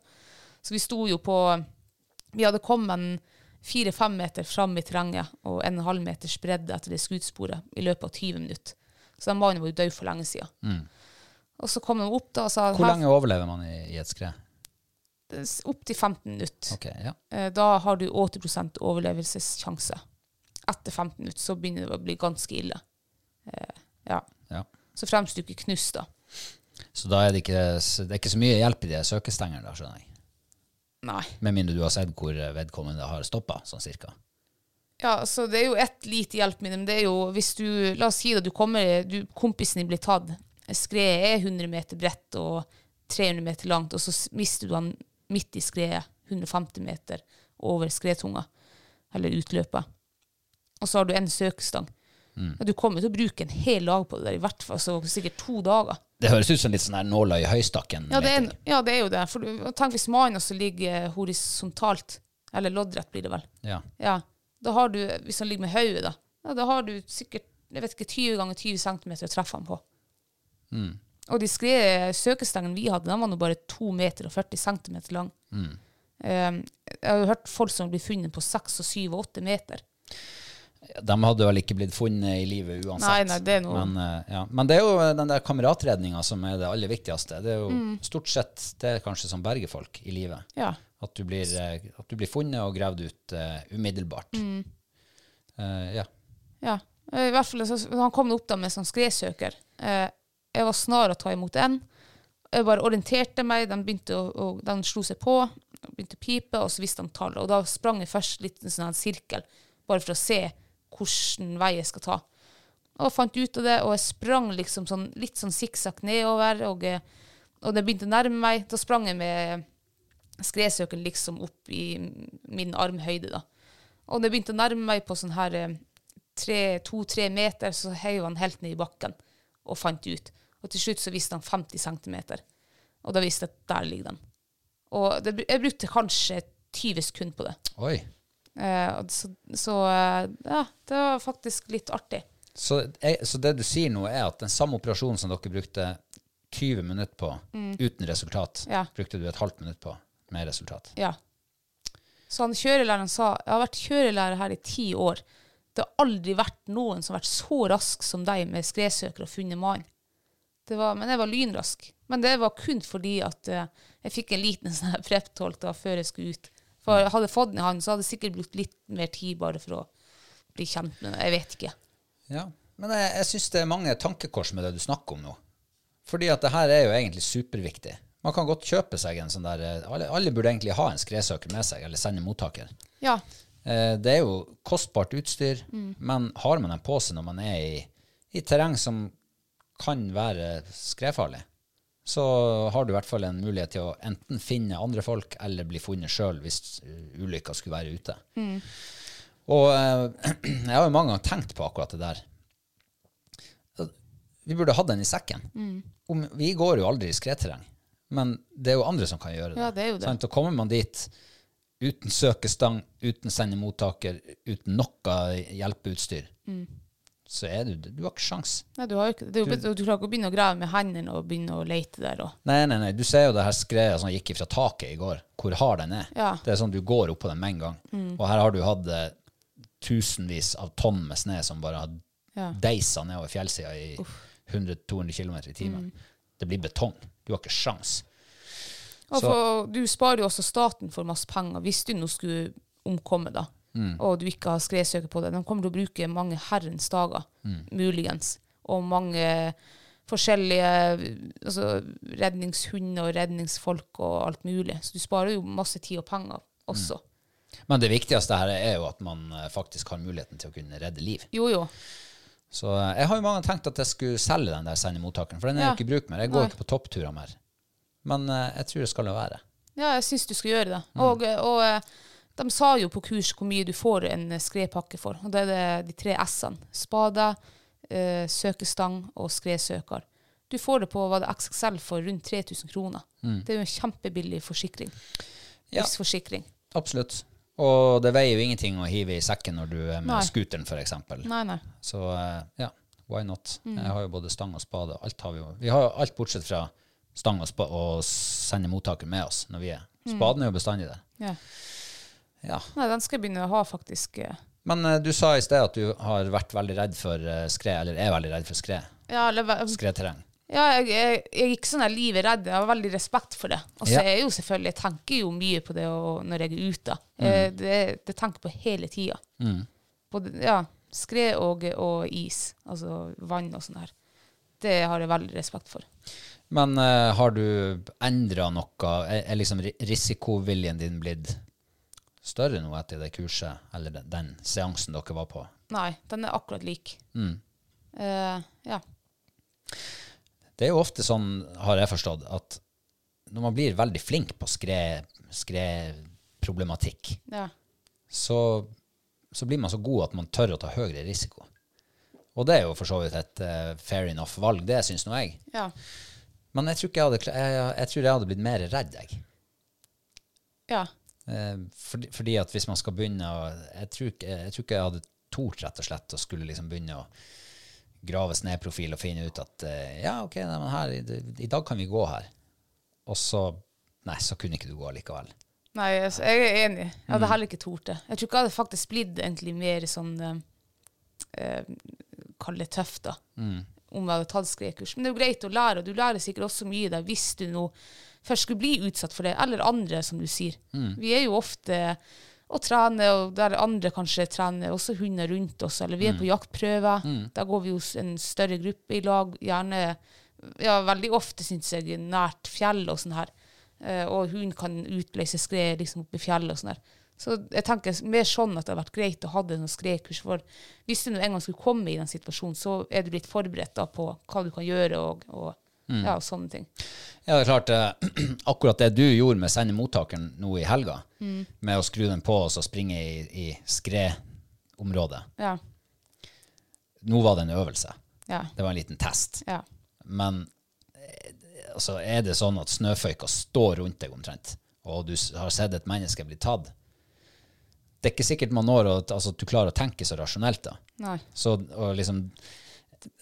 Speaker 2: Så vi sto jo på Vi hadde kommet en fire-fem meter fram i terrenget og en og en halv meters bredde etter det skutesporet i løpet av 20 minutter. Så den mannen var jo død for lenge siden. Og så kom de opp da og sa
Speaker 1: Mm. Hvor lenge overlever man i, i et skred?
Speaker 2: opptil 15 minutter.
Speaker 1: Ok, ja.
Speaker 2: Eh, Da har du 80 overlevelsessjanse. Etter 15 minutter så begynner det å bli ganske ille. Eh, ja.
Speaker 1: ja.
Speaker 2: Så fremst du ikke knust, da.
Speaker 1: Så da er det, ikke, det er ikke så mye hjelp i de søkestengene, da, skjønner jeg.
Speaker 2: Nei.
Speaker 1: Med mindre du har sett hvor eh, vedkommende har stoppa, sånn cirka.
Speaker 2: Ja, så det er jo ett lite hjelpemiddel, men det er jo hvis du La oss si da du kommer, du, kompisen din blir tatt. Skredet er 100 meter bredt og 300 meter langt, og så s- mister du han midt i skredet, 150 meter over skredtunga, eller utløpet. Og så har du en søkestang. Ja, du kommer til å bruke en hel dag på det der, i hvert fall så sikkert to dager.
Speaker 1: Det høres ut som litt sånn der nåla i høystakken.
Speaker 2: Ja, det er,
Speaker 1: leting.
Speaker 2: ja, det er jo det. For du- tenk hvis mannen også ligger horisontalt, eller loddrett blir det vel.
Speaker 1: ja.
Speaker 2: Ja, da har du, hvis han ligger med hodet, da, ja, da har du sikkert jeg vet ikke, 20 ganger 20 cm å treffe han på.
Speaker 1: Mm.
Speaker 2: Og de skrev søkestengene vi hadde, de var nå bare 2 meter og 40 cm lang.
Speaker 1: Mm.
Speaker 2: Um, jeg har jo hørt folk som blir funnet på 6 og 7 og 8 meter.
Speaker 1: De hadde vel ikke blitt funnet i livet uansett.
Speaker 2: Nei, nei, det er noe-
Speaker 1: men, eh, ja. men det er jo den der kameratredninga som er det aller viktigste. Det er jo
Speaker 2: Mm.
Speaker 1: stort sett det er kanskje som berger folk i livet.
Speaker 2: Ja.
Speaker 1: At, du blir, eh, at du blir funnet og gravd ut eh, umiddelbart.
Speaker 2: Mm.
Speaker 1: Eh, ja.
Speaker 2: Ja. Eh, I hvert fall, så, han kom opp da med sånn skredsøker. Eh, jeg var snar å ta imot en. Jeg bare orienterte meg, den, begynte å, å, den slo seg på, begynte å pipe, og så visste han tallet. Og da sprang jeg først litt i en sånn her sirkel, bare for å se hvilken vei jeg skal ta. Og fant ut av det, og jeg sprang liksom sånn, litt sånn sikksakk nedover, og, eh, og det begynte å nærme meg. Da sprang jeg med skredsøken liksom opp i min armhøyde, da. Og det begynte å nærme meg på sånn her eh, tre- to-tre meter, så heiv han helt ned i bakken og fant ut. Og til slutt så viste han 50 centimeter. Og da visste jeg at der ligger den. Og det, br- jeg brukte kanskje 20 sekunder på det.
Speaker 1: Oi.
Speaker 2: Eh, og så så eh, ja, det var faktisk litt artig.
Speaker 1: Så, jeg, så det du sier nå, er at den samme operasjonen som dere brukte 20 minutter på uten resultat,
Speaker 2: Ja.
Speaker 1: brukte du et halvt minutt på med resultat.
Speaker 2: Ja. Så han kjørelæreren sa jeg har vært kjørelærer her i ti år. Det har aldri vært noen som har vært så rask som deg med skredsøker og funnet mannen. Det var- Men jeg var lynrask. Men det var kun fordi at eh, jeg fikk en liten [laughs] sånn her prep-tolk da før jeg skulle ut. For hadde jeg fått den i hånden, så hadde jeg sikkert brukt litt mer tid bare for å bli kjent med den. Jeg vet ikke.
Speaker 1: Ja, men jeg, jeg syns det er mange tankekors med det du snakker om nå. Fordi at det her er jo egentlig superviktig. Man kan godt kjøpe seg en sånn der eh, Alle, alle burde egentlig ha en skredsøker med seg, eller sende mottaker.
Speaker 2: Ja.
Speaker 1: Eh, det er jo kostbart utstyr, men har man en på seg når man er i, i terreng som kan være skredfarlig, så har du i hvert fall en mulighet til å enten finne andre folk, eller bli funnet sjøl hvis eh, ulykka skulle være ute. Og eh, [clears throat] jeg har jo mange ganger tenkt på akkurat det der. Vi burde hatt den i sekken. Om, vi går jo aldri i skredterreng, men det er jo andre som kan gjøre det.
Speaker 2: Ja, det er jo det.
Speaker 1: Sant? Og kommer man dit uten søkestang, uten sendemottaker, uten noe hjelpeutstyr,
Speaker 2: Mm.
Speaker 1: så er du Du har ikke sjans.
Speaker 2: Nei, du, har jo ikke, det er jo, du klarer ikke å begynne å grave med hendene og begynne å lete der. Og.
Speaker 1: Nei, nei, nei. Du ser jo det her skredet som gikk ifra taket i går, hvor hard den er.
Speaker 2: Ja. Mm.
Speaker 1: Det er sånn du går oppå den med en gang. Og her har du hatt eh, tusenvis av tonn med snø som bare har
Speaker 2: Ja.
Speaker 1: deisa nedover fjellsida i 100-200 km i timen.
Speaker 2: Mm.
Speaker 1: Det blir betong. Du har ikke sjans.
Speaker 2: Og for, du sparer jo også staten for masse penger hvis du nå skulle omkomme, da. Og du ikke har skredsøker på det. De kommer til å bruke mange herrens dager, muligens. Og mange forskjellige altså, redningshunder og redningsfolk og alt mulig. Så du sparer jo masse tid og penger også.
Speaker 1: Men det viktigste her er jo at man eh, faktisk har muligheten til å kunne redde liv.
Speaker 2: Jo, jo.
Speaker 1: Så eh, jeg har jo mange ganger tenkt at jeg skulle selge den der sendemottakeren, for den er
Speaker 2: Ja.
Speaker 1: jo ikke i bruk mer. Jeg går
Speaker 2: Nei.
Speaker 1: jo ikke på toppturer mer. Men eh, jeg tror det skal la være.
Speaker 2: Ja, jeg syns du skal gjøre det. Og, og eh, de sa jo på kurs hvor mye du får en eh, skredpakke for. Og det er det, de tre S-ene. Spade, eh, søkestang og skredsøker. Du får det på hva det er XXL for rundt 3000 kroner. Det er jo en kjempebillig forsikring.
Speaker 1: Ja.
Speaker 2: Livsforsikring.
Speaker 1: Absolutt. Og det veier jo ingenting å hive i sekken når du er med
Speaker 2: Nei.
Speaker 1: scooteren, f.eks.
Speaker 2: Nei, Mm. nei.
Speaker 1: Så eh, ja, why not? Jeg har jo både stang og spade. Alt har vi, jo. vi har jo alt bortsett fra stang og, spa og sendemottaker med oss når vi er.
Speaker 2: Mm.
Speaker 1: Spaden er jo bestandig der.
Speaker 2: Ja.
Speaker 1: Ja.
Speaker 2: Nei, den skal jeg begynne å ha, faktisk. eh.
Speaker 1: Men eh, du sa i sted at du har vært veldig redd for eh, skred, eller er veldig redd for skred.
Speaker 2: Ja, eller, hva-
Speaker 1: Skredterreng.
Speaker 2: ja jeg, jeg, jeg er ikke sånn der livet redd. Jeg har veldig respekt for det. Og så
Speaker 1: Ja.
Speaker 2: er jeg jo selvfølgelig Jeg tenker jo mye på det og, når jeg er ute. Eh, Det, det tenker jeg på hele tida. Både ja, skred og, og is. Altså vann og sånn her. Det har jeg veldig respekt for.
Speaker 1: Men eh, har du endra noe? Er, er liksom ri- risikoviljen din blitt større nå etter det kurset, eller den, den seansen dere var på?
Speaker 2: Nei, den er akkurat lik. Eh, ja.
Speaker 1: Det er jo ofte sånn, har jeg forstått, at når man blir veldig flink på skred, skredproblematikk,
Speaker 2: ja.
Speaker 1: så, så blir man så god at man tør å ta høyere risiko. Og det er jo for så vidt et eh, fair enough valg, det syns nå jeg.
Speaker 2: Ja.
Speaker 1: Men jeg tror, ikke jeg, hadde, kla- jeg, jeg tror jeg hadde blitt mer redd, jeg.
Speaker 2: ja.
Speaker 1: Eh, fordi, fordi at hvis man skal begynne å Jeg tror ikke jeg, tror ikke jeg hadde tort, rett og slett, å skulle liksom begynne å grave snøprofil og finne ut at eh, ja, OK, nei, men her, i, i dag kan vi gå her. Og så Nei, så kunne ikke du gå likevel.
Speaker 2: Nei, altså, jeg er enig. Jeg hadde heller ikke tort det. Jeg tror ikke jeg hadde faktisk blitt egentlig mer sånn eh, eh, Kall det tøft, da. Om jeg hadde tatt skredkurs. Men det er jo greit å lære, og du lærer sikkert også mye der hvis du nå først skulle bli utsatt for det, eller andre, som du sier. Vi er jo ofte og trener, og der andre kanskje trener, også hunder rundt oss, eller vi er på jaktprøver. Da går vi hos en større gruppe i lag, gjerne ja, veldig ofte, syns jeg, nært fjell og sånn her. Eh, og hun kan utløse skred liksom, oppe i fjellet og sånn der. Så jeg tenker mer sånn at det har vært greit å ha det noen skredkurs. For hvis du nå en gang skulle komme i den situasjonen, så er du litt forberedt da på hva du kan gjøre og, og, ja, og sånne ting.
Speaker 1: Ja, det er klart, eh, [clears throat] akkurat det du gjorde med sendemottakeren nå i helga, med å skru den på og så springe i, i skredområdet
Speaker 2: Ja.
Speaker 1: Nå var det en øvelse.
Speaker 2: Ja.
Speaker 1: Det var en liten test.
Speaker 2: Ja.
Speaker 1: Men eh, altså, er det sånn at snøføyka står rundt deg omtrent, og du s- har sett et menneske bli tatt Det er ikke sikkert man når å- altså, at du klarer å tenke så rasjonelt. da.
Speaker 2: Nei.
Speaker 1: Så å liksom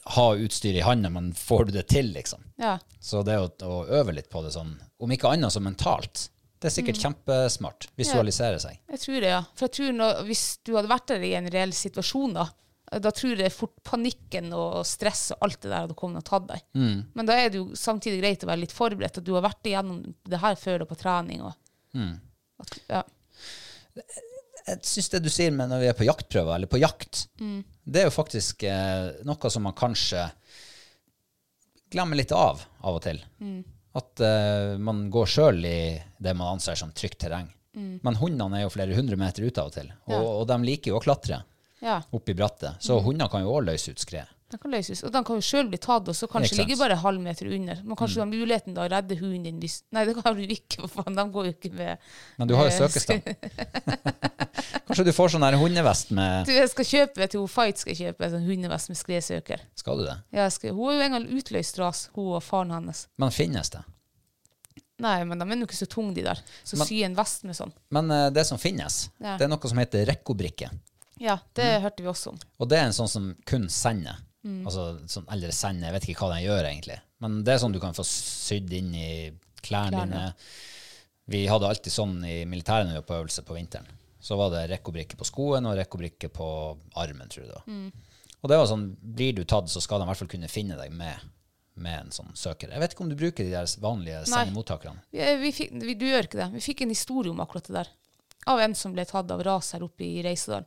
Speaker 1: ha utstyret i handa, men får du det til, liksom?
Speaker 2: Ja.
Speaker 1: Så det å, å øve litt på det sånn, om ikke annet så mentalt, det er sikkert kjempesmart. Visualisere seg.
Speaker 2: Jeg tror det, ja. For jeg tror nå, Hvis du hadde vært der i en reell situasjon, da da tror jeg fort panikken og stress og alt det der hadde kommet og tatt deg.
Speaker 1: Mm.
Speaker 2: Men da er det jo samtidig greit å være litt forberedt, at du har vært igjennom det her før da på trening. Og,
Speaker 1: Mm.
Speaker 2: at, ja.
Speaker 1: jeg syns det du sier med når vi er på jaktprøver, eller på jakt,
Speaker 2: Mm.
Speaker 1: det er jo faktisk eh, noe som man kanskje glemmer litt av av og til.
Speaker 2: Mm.
Speaker 1: At eh, man går sjøl i det man anser som trygt terreng.
Speaker 2: Mm.
Speaker 1: Men hundene er jo flere hundre meter ute av og til, og, og de liker jo å klatre
Speaker 2: ja.
Speaker 1: opp i brattet. Så
Speaker 2: Mm.
Speaker 1: hunder kan jo òg løse ut skred.
Speaker 2: Den kan løses. Og den kan jo sjøl bli tatt, og så kanskje
Speaker 1: Ikke sant. Mm.
Speaker 2: ligge bare en halv meter under. Men kanskje du har muligheten da å redde hunden din hvis Nei, det kan du ikke, for faen. De går jo ikke med
Speaker 1: Men du har jo
Speaker 2: Eh,
Speaker 1: søkestang. [laughs] kanskje du får sånn her hundevest med
Speaker 2: [laughs] Du, jeg skal kjøpe til hun Fight skal jeg kjøpe en sånn hundevest med skredsøker.
Speaker 1: Skal du det?
Speaker 2: Ja, jeg skal, hun er jo en gang utløst ras, hun og faren hennes.
Speaker 1: Men finnes det?
Speaker 2: Nei, men de er jo ikke så tunge, de der. Så
Speaker 1: Men-
Speaker 2: sy en vest med sånn.
Speaker 1: Men eh, det som finnes,
Speaker 2: Ja.
Speaker 1: det er noe som heter rekkobrikke.
Speaker 2: Ja, det hørte vi også om.
Speaker 1: Og det er en sånn som kun sender. Altså, sånn, eller sender, jeg vet ikke hva den gjør egentlig. Men det er sånn du kan få sydd inn i klærne
Speaker 2: Klærne.
Speaker 1: dine. Vi hadde alltid sånn i militæret når vi var på øvelse på vinteren. Så var det rekkobrikke på skoen og rekkobrikke på armen, tror jeg det var. Og det var sånn, blir du tatt, så skal de i hvert fall kunne finne deg med, med en sånn søker. Jeg vet ikke om du bruker de der vanlige
Speaker 2: Nei.
Speaker 1: sendemottakerne.
Speaker 2: Vi, eh, vi fikk, vi, du gjør ikke det. Vi fikk en historie om akkurat det der. Av en som ble tatt av ras her oppe i Reisedalen.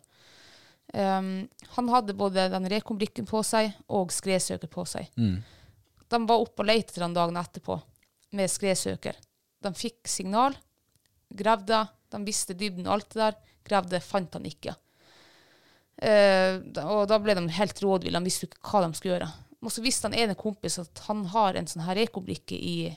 Speaker 2: Ehm, han hadde både den rekombrikken på seg og skredsøker på seg. De var oppe og lette etter han dagen etterpå med skredsøker. De fikk signal, gravde, de visste dybden og alt det der. Gravde, fant han ikke. Eh, da- og da ble de helt rådville. De visste jo ikke hva de skulle gjøre. Og så visste han ene kompis at han har en sånn her ekobrikke i,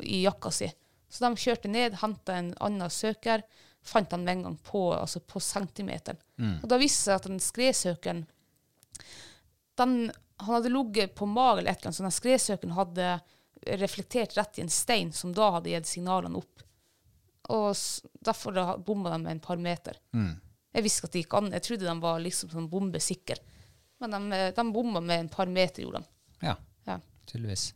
Speaker 2: i jakka si. Så de kjørte ned, henta en annen søker, fant han med en gang på, altså på centimeteren. Og da viste det seg at den skredsøkeren den, Han hadde ligget på magen eller et eller annet, så den skredsøkeren hadde reflektert rett i en stein, som da hadde gitt signalene opp. Og s- derfor da bomma de med en par meter. Jeg visste at det gikk an. Jeg trodde de var liksom sånn bombesikre. Men de, eh, de bomma med en par meter, gjorde de.
Speaker 1: Ja,
Speaker 2: Ja.
Speaker 1: tydeligvis.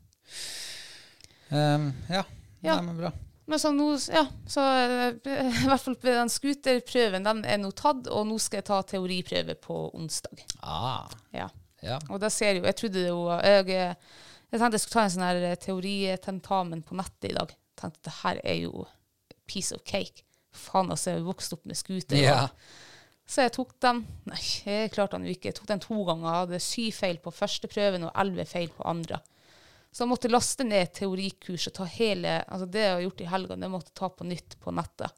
Speaker 1: Ehm, ja.
Speaker 2: Ja.
Speaker 1: Nei, men bra.
Speaker 2: Men så nå, ja, så eh, [laughs] i hvert fall den skuterprøven, den er nå tatt, og nå skal jeg ta teoriprøve på onsdag.
Speaker 1: Ah,
Speaker 2: Ja.
Speaker 1: ja.
Speaker 2: Og da ser jeg jo Jeg trodde jo Jeg, eh, jeg tenkte jeg skulle ta en sånn her eh, teoritentamen på nettet i dag. Tenkte det her er jo piece of cake. Faen, altså, jeg er jo vokst opp med scooter. og
Speaker 1: ja.
Speaker 2: Så jeg tok den Nei, jeg klarte den jo ikke. Jeg tok den to ganger. Jeg hadde syv feil på første prøven og elleve feil på andre. Så jeg måtte laste ned teorikurs og ta hele altså Det jeg har gjort i helga, det måtte jeg ta på nytt på nettet.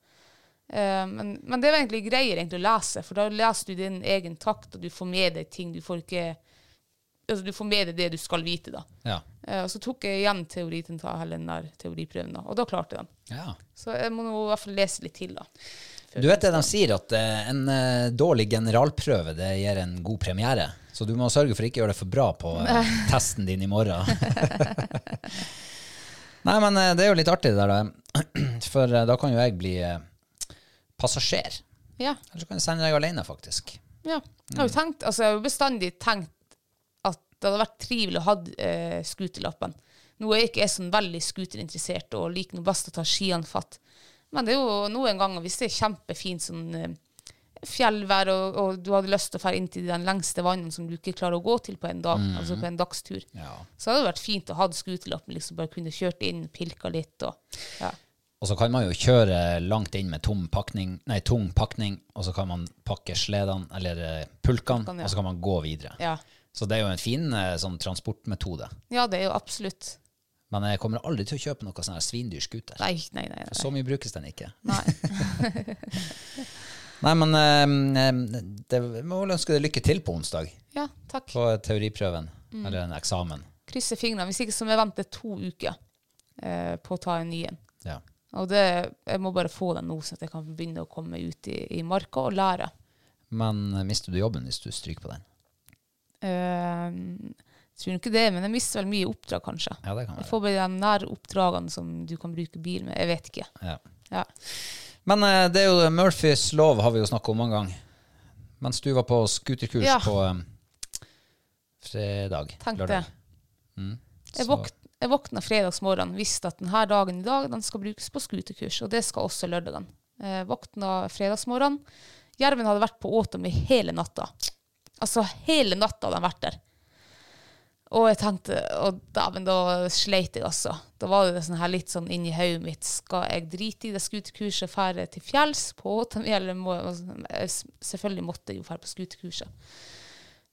Speaker 2: Eh, men, men det var egentlig greier egentlig å lese, for da leser du din egen takt, og du får med deg ting. Du får ikke Altså, du får med deg det du skal vite, da.
Speaker 1: Ja.
Speaker 2: Eh, og så tok jeg igjen teoritenta, eller den der teoriprøven, da, og da klarte jeg den.
Speaker 1: ja.
Speaker 2: Så jeg må nå i hvert fall lese litt til, da.
Speaker 1: Du vet det de sier, at eh, en eh, dårlig generalprøve det gir en god premiere. Så du må sørge for ikke å gjøre det for bra på eh, [laughs] testen din i
Speaker 2: [laughs]
Speaker 1: morgen. Nei, men eh, det er jo litt artig det der, da. [clears throat] For eh, da kan jo jeg bli eh, passasjer.
Speaker 2: Ja.
Speaker 1: Eller så kan jeg sende deg alene, faktisk.
Speaker 2: Ja. Jeg har jo tenkt, altså jeg har jo bestandig tenkt at det hadde vært trivelig å ha eh, skuterlappen. Nå er jeg ikke jeg sånn veldig skuterinteressert og liker nå best å ta skiene fatt. Men det er jo noen ganger, hvis det er kjempefint sånn eh, fjellvær, og, og du hadde lyst til å fære inn til den lengste vannet som du ikke klarer å gå til på en dag, altså på en dagstur, så hadde det vært fint å ha skuterlappen, liksom bare kunne kjørt inn, pilka litt og ja.
Speaker 1: Og så kan man jo kjøre langt inn med tom pakning, nei, tung pakning, og så kan man pakke sledene, eller eh, pulkene,
Speaker 2: Pulkene, ja.
Speaker 1: og så kan man gå videre.
Speaker 2: Ja.
Speaker 1: Så det er jo en fin eh, sånn transportmetode.
Speaker 2: ja, det er jo absolutt.
Speaker 1: Men jeg kommer aldri til å kjøpe noe sånn her svindyr scooter.
Speaker 2: Nei, nei, nei. nei.
Speaker 1: Så mye brukes den ikke.
Speaker 2: nei.
Speaker 1: Nei, men eh, eh, det, jeg må vel ønske deg lykke til på onsdag.
Speaker 2: Ja, takk.
Speaker 1: På teoriprøven,
Speaker 2: Mm.
Speaker 1: eller en eksamen.
Speaker 2: krysser fingrene. Hvis ikke så må jeg vente to uker eh, på å ta en ny en.
Speaker 1: Ja.
Speaker 2: Og det, jeg må bare få den nå, sånn at jeg kan begynne å komme ut i, i marka og lære.
Speaker 1: Men eh, mister du jobben hvis du stryker på den?
Speaker 2: Eh, jeg tror ikke det, men jeg mister vel mye oppdrag, kanskje.
Speaker 1: Ja, det kan
Speaker 2: Jeg
Speaker 1: være.
Speaker 2: får bare de nære oppdragene som du kan bruke bil med. Jeg vet ikke.
Speaker 1: Ja.
Speaker 2: Ja.
Speaker 1: Men eh, det er jo Murphys lov har vi jo snakket om mange ganger. Mens du var på scooterkurs
Speaker 2: Ja.
Speaker 1: på eh, fredag.
Speaker 2: Tenk
Speaker 1: lørdag.
Speaker 2: det.
Speaker 1: Så-
Speaker 2: Jeg, våk jeg våkna fredagsmorgen visste at denne dagen i dag den skal brukes på skuterkurs, og det skal også lørdagen. Jeg våkna fredagsmorgen. Jerven hadde vært på Åtom i hele natta. Altså hele natta hadde han vært der. Og jeg tenkte Å, dæven, da sleit jeg, altså. Da var det sånn her litt sånn inni hodet mitt Skal jeg drite i det skuterkurset, fære til fjells på Åtom, eller må jeg Selvfølgelig måtte jeg jo fære på skuterkurset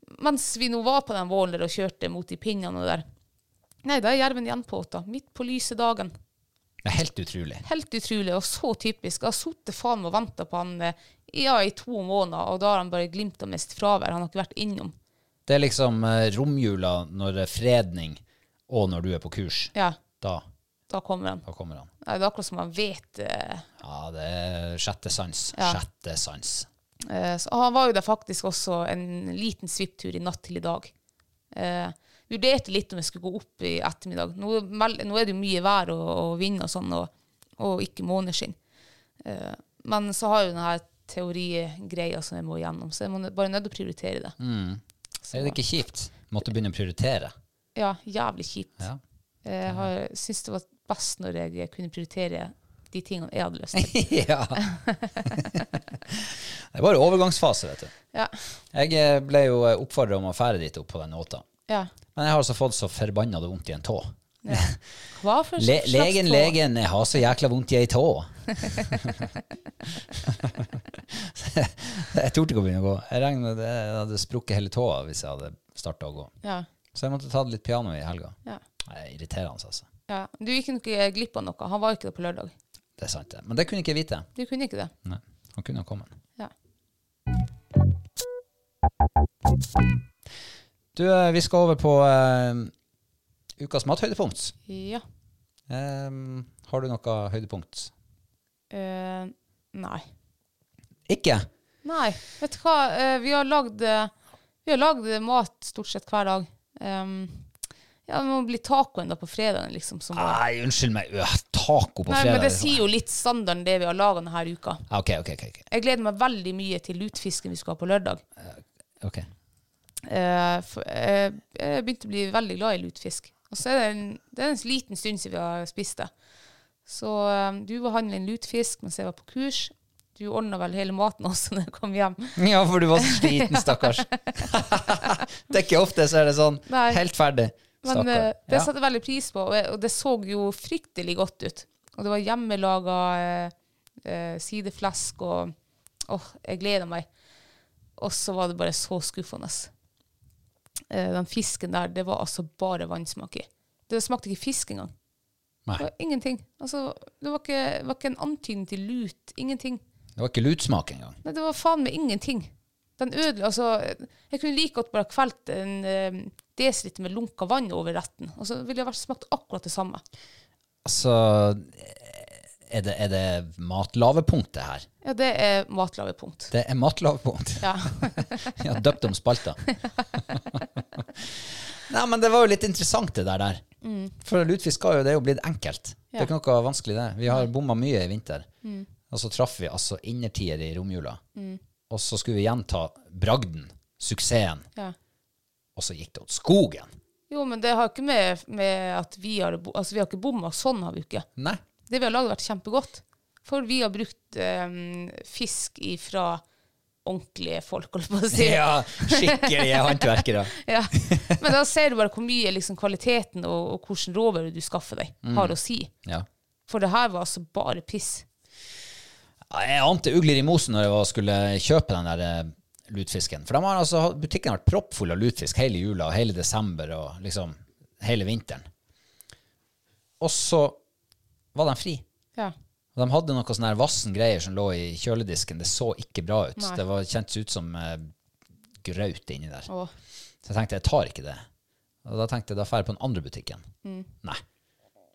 Speaker 2: mens vi nå var på den vålen der og kjørte mot de pinnene og der, nei, da er jerven igjen på åta, midt på lyse dagen.
Speaker 1: Det er helt utrolig.
Speaker 2: Helt utrolig, og så typisk. Jeg har sittet faen meg og venta på han eh, ja, i to måneder, og da har han bare glimt av mest fravær. Han har ikke vært innom.
Speaker 1: Det er liksom eh, romjula når det er fredning, og når du er på kurs.
Speaker 2: Ja,
Speaker 1: Da,
Speaker 2: da kommer han.
Speaker 1: da kommer han.
Speaker 2: Nei, det er akkurat som han vet eh,
Speaker 1: Ja, det er sjette sans.
Speaker 2: Ja.
Speaker 1: Sjette sans.
Speaker 2: Eh, Så han var jo der faktisk også en liten svipptur i natt til i dag. Eh, vurderte litt om jeg skulle gå opp i ettermiddag. Nå, mel- nå er det jo mye vær og, og vind og sånn, og, og ikke måneskinn. Eh, men så har jeg jo denne teorigreia som jeg må gjennom, så jeg må nø- bare nødt til å prioritere det.
Speaker 1: Mm. Er det ikke kjipt? Måtte begynne å prioritere.
Speaker 2: Ja, jævlig kjipt.
Speaker 1: Ja.
Speaker 2: Eh, Jeg syns det var best når jeg kunne prioritere de tingene jeg hadde
Speaker 1: [laughs]
Speaker 2: lyst til.
Speaker 1: ja. det var jo overgangsfase, vet du.
Speaker 2: Ja,
Speaker 1: Jeg eh, ble jo oppfordra om å fære dit opp på den åta.
Speaker 2: ja.
Speaker 1: Men jeg har altså fått så forbanna vondt i en tå. [laughs]
Speaker 2: Hva for
Speaker 1: Le
Speaker 2: slags
Speaker 1: legen,
Speaker 2: tå?
Speaker 1: legen, jeg har så jækla vondt i ei tå. [laughs] jeg torde ikke å begynne å gå. Jeg regnet med det jeg hadde sprukket hele tåa hvis jeg hadde starta å gå.
Speaker 2: Ja,
Speaker 1: Så jeg måtte ta det litt piano i helga.
Speaker 2: ja,
Speaker 1: Det er irriterende, altså.
Speaker 2: ja. Du gikk nok ikke glipp av noe. Han var ikke der på lørdag.
Speaker 1: Det er sant, det. Men det kunne ikke jeg vite.
Speaker 2: Du kunne ikke det?
Speaker 1: Nei, han kunne ha kommet.
Speaker 2: Ja.
Speaker 1: Du, eh, vi skal over på eh, ukas mathøydepunkt.
Speaker 2: Ja.
Speaker 1: Em, har du noe høydepunkt?
Speaker 2: Eh, nei.
Speaker 1: Ikke?
Speaker 2: Nei. Vet du hva, Eh, vi har lagd eh, Vi har lagd mat stort sett hver dag. Ehm, ja, det må bli tacoen da på fredagen, liksom. Som var.
Speaker 1: Nei, unnskyld meg. Øh, taco på
Speaker 2: Nei,
Speaker 1: fredag.
Speaker 2: men det
Speaker 1: liksom.
Speaker 2: sier jo litt standarden det vi har laga denne uka.
Speaker 1: Ah, ok, ok, ok, ok.
Speaker 2: Jeg gleder meg veldig mye til lutfisken vi skal ha på lørdag.
Speaker 1: Ok.
Speaker 2: Eh, for, eh, jeg begynte å bli veldig glad i lutfisk. Og så er det en, det er en liten stund siden vi har spist det. Så eh, du var handla en lutfisk mens jeg var på kurs. Du ordna vel hele maten også når jeg kom hjem.
Speaker 1: Ja, for du var så sliten,
Speaker 2: [laughs]
Speaker 1: stakkars. det er ikke ofte så er det sånn.
Speaker 2: Nei.
Speaker 1: Helt ferdig.
Speaker 2: Men
Speaker 1: Stakkar.
Speaker 2: eh, det
Speaker 1: Ja.
Speaker 2: satte jeg veldig pris på, og, jeg, og det så jo fryktelig godt ut. Og det var hjemmelaga eh, eh, sideflesk, og åh, jeg gleder meg. Og så var det bare så skuffende. Eh, den fisken der, det var altså bare vannsmak i. Det smakte ikke fisk engang.
Speaker 1: Nei.
Speaker 2: Det var ingenting. Altså, det var ikke, var ikke en antydning til lut. Ingenting.
Speaker 1: Det var ikke lutsmak engang.
Speaker 2: Nei, det var faen meg ingenting. Den ødela altså Jeg kunne like godt bare kvelt en eh, desiliter med lunka vann over retten, og så ville det vært smakt akkurat det samme.
Speaker 1: Altså, er det, er det matlavepunktet her?
Speaker 2: Ja, det er matlagepunkt.
Speaker 1: Det er matlavepunkt.
Speaker 2: Ja. [laughs]
Speaker 1: [laughs] ja, døpt om spalta. Nei, men det var jo litt interessant det der. der. For lutfisk har jo det er jo blitt enkelt. Det er ikke noe vanskelig det. Vi har bomma mye i vinter. Og så traff vi altså innertier i romjula. Og så skulle vi gjenta bragden, suksessen,
Speaker 2: ja.
Speaker 1: og så gikk det åt skogen.
Speaker 2: Jo, men det har ikke med, med at vi har bo- Altså, vi har ikke bomma. Sånn har vi ikke.
Speaker 1: Nei.
Speaker 2: Det vi har lagd, har vært kjempegodt. For vi har brukt eh, fisk ifra ordentlige folk, holdt jeg på å si.
Speaker 1: Ja, skikkelige håndverkere.
Speaker 2: [laughs] Ja. Men da ser du bare hvor mye liksom, kvaliteten og, og hvilken råvarer du skaffer deg,
Speaker 1: Mm.
Speaker 2: har å si.
Speaker 1: Ja.
Speaker 2: For det her var altså bare piss.
Speaker 1: Ja, Jeg ante ugler i mosen når jeg var, skulle kjøpe den der eh, lutfisken. For de har altså, butikken har vært proppfull av lutfisk hele jula og hele desember og liksom hele vinteren. Og så var de fri.
Speaker 2: Ja.
Speaker 1: Og de hadde noe sånn her vassen greier som lå i kjøledisken. Det så ikke bra ut.
Speaker 2: Nei.
Speaker 1: Det var, kjentes ut som eh, graut inni der.
Speaker 2: Og,
Speaker 1: Så jeg tenkte jeg tar ikke det. Og da tenkte jeg da drar jeg på den andre butikken. Nei.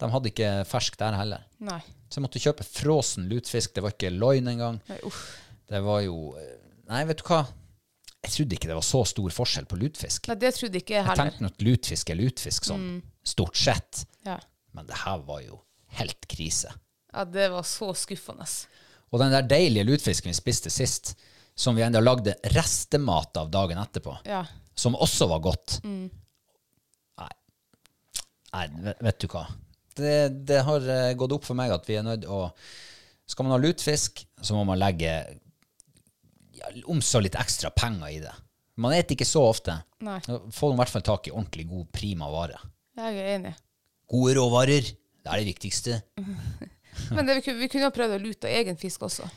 Speaker 1: De hadde ikke fersk der heller.
Speaker 2: nei.
Speaker 1: Så jeg måtte kjøpe frossen lutfisk. Det var ikke loin engang.
Speaker 2: nei uff.
Speaker 1: Det var jo eh, Nei, vet du hva? Jeg trodde ikke det var så stor forskjell på lutfisk.
Speaker 2: Nei, det trodde ikke jeg
Speaker 1: Jeg
Speaker 2: heller.
Speaker 1: tenkte at lutfisk er lutfisk sånn
Speaker 2: Mm.
Speaker 1: stort sett,
Speaker 2: Ja.
Speaker 1: men det her var jo helt krise.
Speaker 2: ja, det var så skuffende.
Speaker 1: Og den der deilige lutfisken vi spiste sist, som vi enda lagde restemat av dagen etterpå,
Speaker 2: Ja.
Speaker 1: som også var godt Nei. Nei, vet- vet du hva? Det, det har eh, gått opp for meg at vi er nødt å Skal man ha lutfisk, så må man legge ja, omså litt ekstra penger i det. Man spiser ikke så ofte.
Speaker 2: Nei.
Speaker 1: Få i hvert fall tak i ordentlig god prima vare.
Speaker 2: Jeg er enig.
Speaker 1: Gode råvarer. Det er det viktigste.
Speaker 2: Men det, vi, kunne, vi kunne ha prøvd å lute av egen fisk også.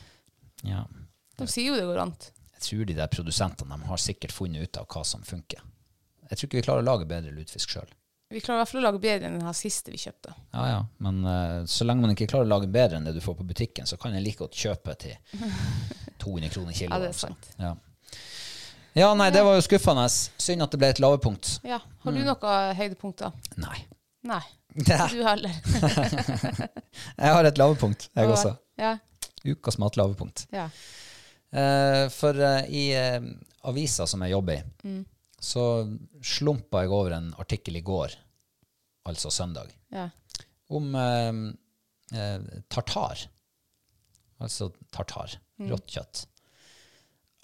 Speaker 1: Ja.
Speaker 2: De sier jo det går an.
Speaker 1: Jeg tror de der produsentene de har sikkert funnet ut av hva som funker. Jeg tror ikke vi klarer å lage bedre lutfisk sjøl.
Speaker 2: Vi klarer i hvert fall å lage bedre enn den her siste vi kjøpte.
Speaker 1: Ja, ja. Men eh, så lenge man ikke klarer å lage bedre enn det du får på butikken, så kan jeg like godt kjøpe til
Speaker 2: [laughs]
Speaker 1: 200 kroner kilo.
Speaker 2: Ja, det er
Speaker 1: altså.
Speaker 2: sant.
Speaker 1: Ja. ja, nei, det var jo skuffende. Synd at det ble et lavepunkt.
Speaker 2: Ja. Har du noen høydepunkter?
Speaker 1: Nei. [laughs]
Speaker 2: Nei.
Speaker 1: Mm. Ja.
Speaker 2: Du heller.
Speaker 1: Jeg har et lavepunkt, jeg også.
Speaker 2: Ja.
Speaker 1: Ukas matlavepunkt.
Speaker 2: ja.
Speaker 1: Eh, for eh, i eh, avisa som jeg jobber i,
Speaker 2: Mm.
Speaker 1: så slumpa jeg over en artikkel i går, altså søndag,
Speaker 2: ja.
Speaker 1: om eh, eh, tartar. Altså tartar. Rått kjøtt.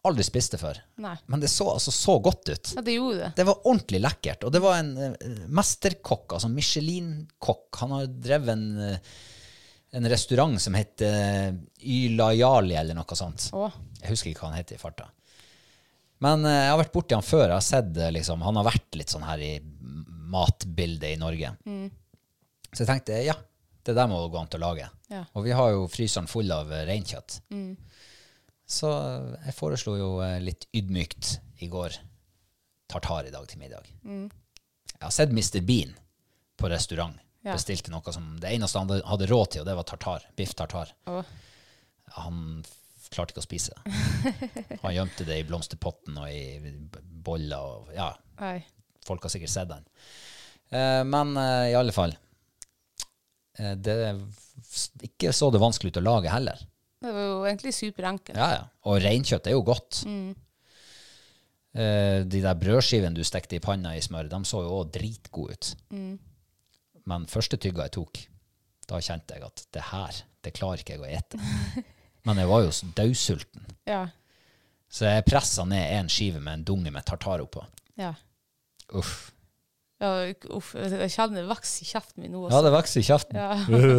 Speaker 1: Aldri spist det før.
Speaker 2: Nei.
Speaker 1: Men det så altså så godt ut.
Speaker 2: Ja, det gjorde det.
Speaker 1: Det var ordentlig lekkert. Og det var en eh, mesterkokk, altså Michelin-kokk. Han har drevet en, eh, en restaurant som heter eh, Ylajali eller noe sånt.
Speaker 2: Å.
Speaker 1: Jeg husker ikke hva han heter i farta. Men eh, jeg har vært borti han før. Jeg har sett, eh, liksom, han har vært litt sånn her i matbildet i Norge. Så jeg tenkte ja, det der må gå an til å lage.
Speaker 2: Ja. Mm.
Speaker 1: Og vi har jo fryseren full av eh, reinkjøtt. Så jeg foreslo jo eh, litt ydmykt i går tartar i dag til middag.
Speaker 2: Mm.
Speaker 1: Jeg har sett Mr. Bean på restaurant.
Speaker 2: Ja.
Speaker 1: Bestilte noe som det eneste han hadde- hadde råd til, og det var tartar. Biff tartar.
Speaker 2: Å.
Speaker 1: Han f- klarte ikke å spise det. Han gjemte det i blomsterpotten og i b- boller og Ja,
Speaker 2: Nei.
Speaker 1: folk har sikkert sett den. Eh, men eh, i alle fall eh, Det er s- ikke så det vanskelig ut å lage heller.
Speaker 2: Det var jo egentlig superenkelt.
Speaker 1: Ja, ja. Og reinkjøtt er jo godt. Eh, de der brødskivene du stekte i panna i smør, de så jo òg dritgode ut. Men første tygga jeg tok, da kjente jeg at det her, det klarer ikke jeg å ete. Men jeg var jo så daudsulten.
Speaker 2: Ja.
Speaker 1: Så jeg pressa ned en skive med en dunge med tartar oppå.
Speaker 2: ja.
Speaker 1: Uff.
Speaker 2: Ja, uff, jeg kjenner det vokser i kjeften min nå
Speaker 1: Ja,
Speaker 2: også.
Speaker 1: det vokser i kjeften.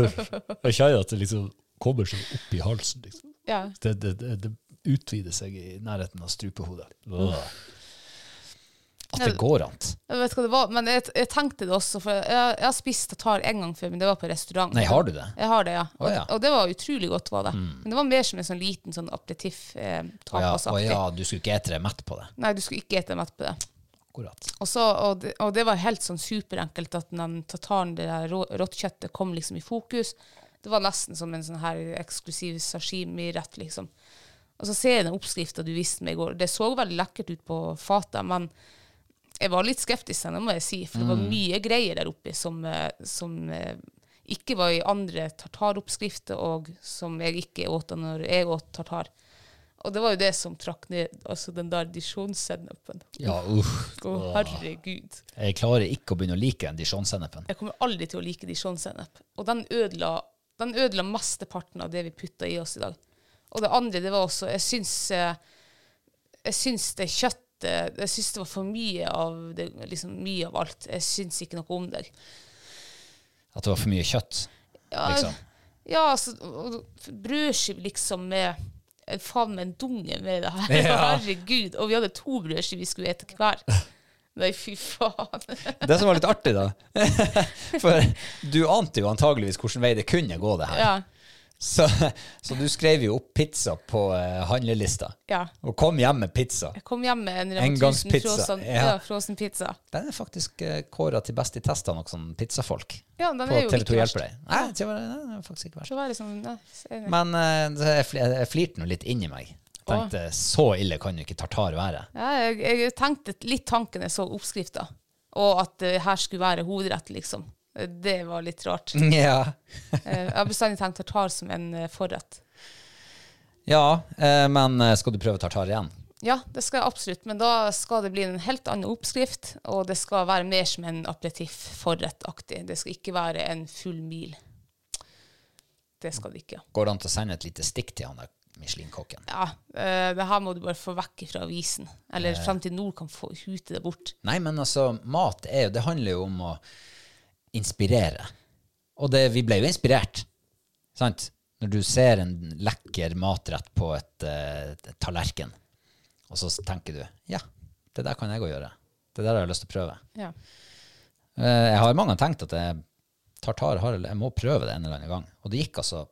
Speaker 1: [laughs]
Speaker 3: Jeg kjenner at det liksom kommer seg opp i halsen. Liksom.
Speaker 2: Ja.
Speaker 3: Det, det, det, det utvider seg i nærheten av strupehodet.
Speaker 1: Mm.
Speaker 3: Åh.
Speaker 1: At det går an.
Speaker 2: Jeg vet hva det var, men jeg, jeg tenkte det også, for jeg, jeg har spist tatar en gang før, men det var på restaurant.
Speaker 1: Nei, har du det?
Speaker 2: Jeg har det, ja. Og,
Speaker 1: Å, ja. Mm.
Speaker 2: og det var utrolig godt, var det. Men det var mer som en sånn liten sånn aperitiff eh,
Speaker 1: Å ja, å
Speaker 2: tapasaktig.
Speaker 1: ja, du skulle ikke ete deg mett på det.
Speaker 2: Nei, du skulle ikke ete mett på det.
Speaker 1: Akkurat.
Speaker 2: Og, så, og, det, og det var helt sånn superenkelt at den tataren, det der rå- rått kjøttet, kom liksom i fokus. Det var nesten som en sånn her eksklusiv sashimi-rett, liksom. Og så ser jeg den oppskrifta du viste meg i går. Det så veldig lekkert ut på fatet, men jeg var litt skeptisk, det må jeg si, for det var mye greier der oppe som, eh, som eh, ikke var i andre tartaroppskrifter, og som jeg ikke åt da når jeg åt tartar. Og det var jo det som trakk ned altså den der disjonsennepben.
Speaker 1: Ja, uff.
Speaker 2: Å, herregud.
Speaker 1: Jeg klarer ikke å begynne å like den dijonsennepen.
Speaker 2: Jeg kommer aldri til å like dijon-sennep. Og den ødela, den ødela mesteparten av det vi putta i oss i dag. Og det andre, det var også Jeg syns, eh, jeg syns det kjøttet Jeg syns det var for mye av det, liksom mye av alt. Jeg syns ikke noe om det.
Speaker 1: At det var for mye kjøtt.
Speaker 2: Ja,
Speaker 1: Liksom.
Speaker 2: ja altså og- og Brødskive liksom med eh, Faen meg en dunge med det her.
Speaker 1: [laughs] Ja.
Speaker 2: [laughs] Herregud. Og vi hadde to brødskiver vi skulle ete
Speaker 1: [laughs]
Speaker 2: hver. Nei, fy faen.
Speaker 1: Det som var litt artig, da [laughs] For du ante jo antageligvis hvilken vei det kunne gå, det her.
Speaker 2: Ja.
Speaker 1: Så, så du skrev jo opp pizza på eh, handlelista.
Speaker 2: ja.
Speaker 1: Og kom hjem med pizza.
Speaker 2: Jeg kom hjem med en Rema
Speaker 1: Engangspizza,
Speaker 2: 1000 frossen,
Speaker 1: ja.
Speaker 2: ja. frossen pizza.
Speaker 1: Den er faktisk uh, kåra til best i test av noen sånn pizzafolk.
Speaker 2: Ja, den
Speaker 1: på
Speaker 2: er jo
Speaker 1: TV 2
Speaker 2: ikke verst.
Speaker 1: hjelper deg. Nei, det var- nei, den er faktisk ikke verst.
Speaker 2: Så var det sånn, nei, så er det-
Speaker 1: Men eh, det- jeg fl- jeg flirte nå litt inni meg. Tenkte så ille kan jo ikke tartar være.
Speaker 2: ja, jeg, jeg tenkte litt tanken jeg så oppskrifta, og at det her skulle være hovedrett, liksom. Det var litt [laughs] rart.
Speaker 1: Mm, Ja.
Speaker 2: Eh, Jeg har bestandig tenkt tartar som en eh, forrett.
Speaker 1: Ja, eh, men eh, skal du prøve tartar igjen?
Speaker 2: Ja, det skal jeg absolutt, men da skal det bli en helt annen oppskrift, og det skal være mer som en aperitiff forrettaktig. Det skal ikke være en full mil. Det skal det ikke.
Speaker 1: Går det an til å sende et lite stikk til han der Michelin-kokken?
Speaker 2: Ja, eh, det her må du bare få vekk fra avisen, eller frem til Nord kan få hute det bort.
Speaker 1: Nei, men altså, mat er jo Det handler jo om å inspirere. Og det, vi ble jo inspirert, sant? Når du ser en lekker matrett på et, eh, et tallerken, og så tenker du Ja, det der kan jeg òg gjøre. Det der har jeg lyst til å prøve.
Speaker 2: Ja.
Speaker 1: Eh, Jeg har mange tenkt at jeg, tartar har, jeg må prøve det en eller annen gang. Og det gikk altså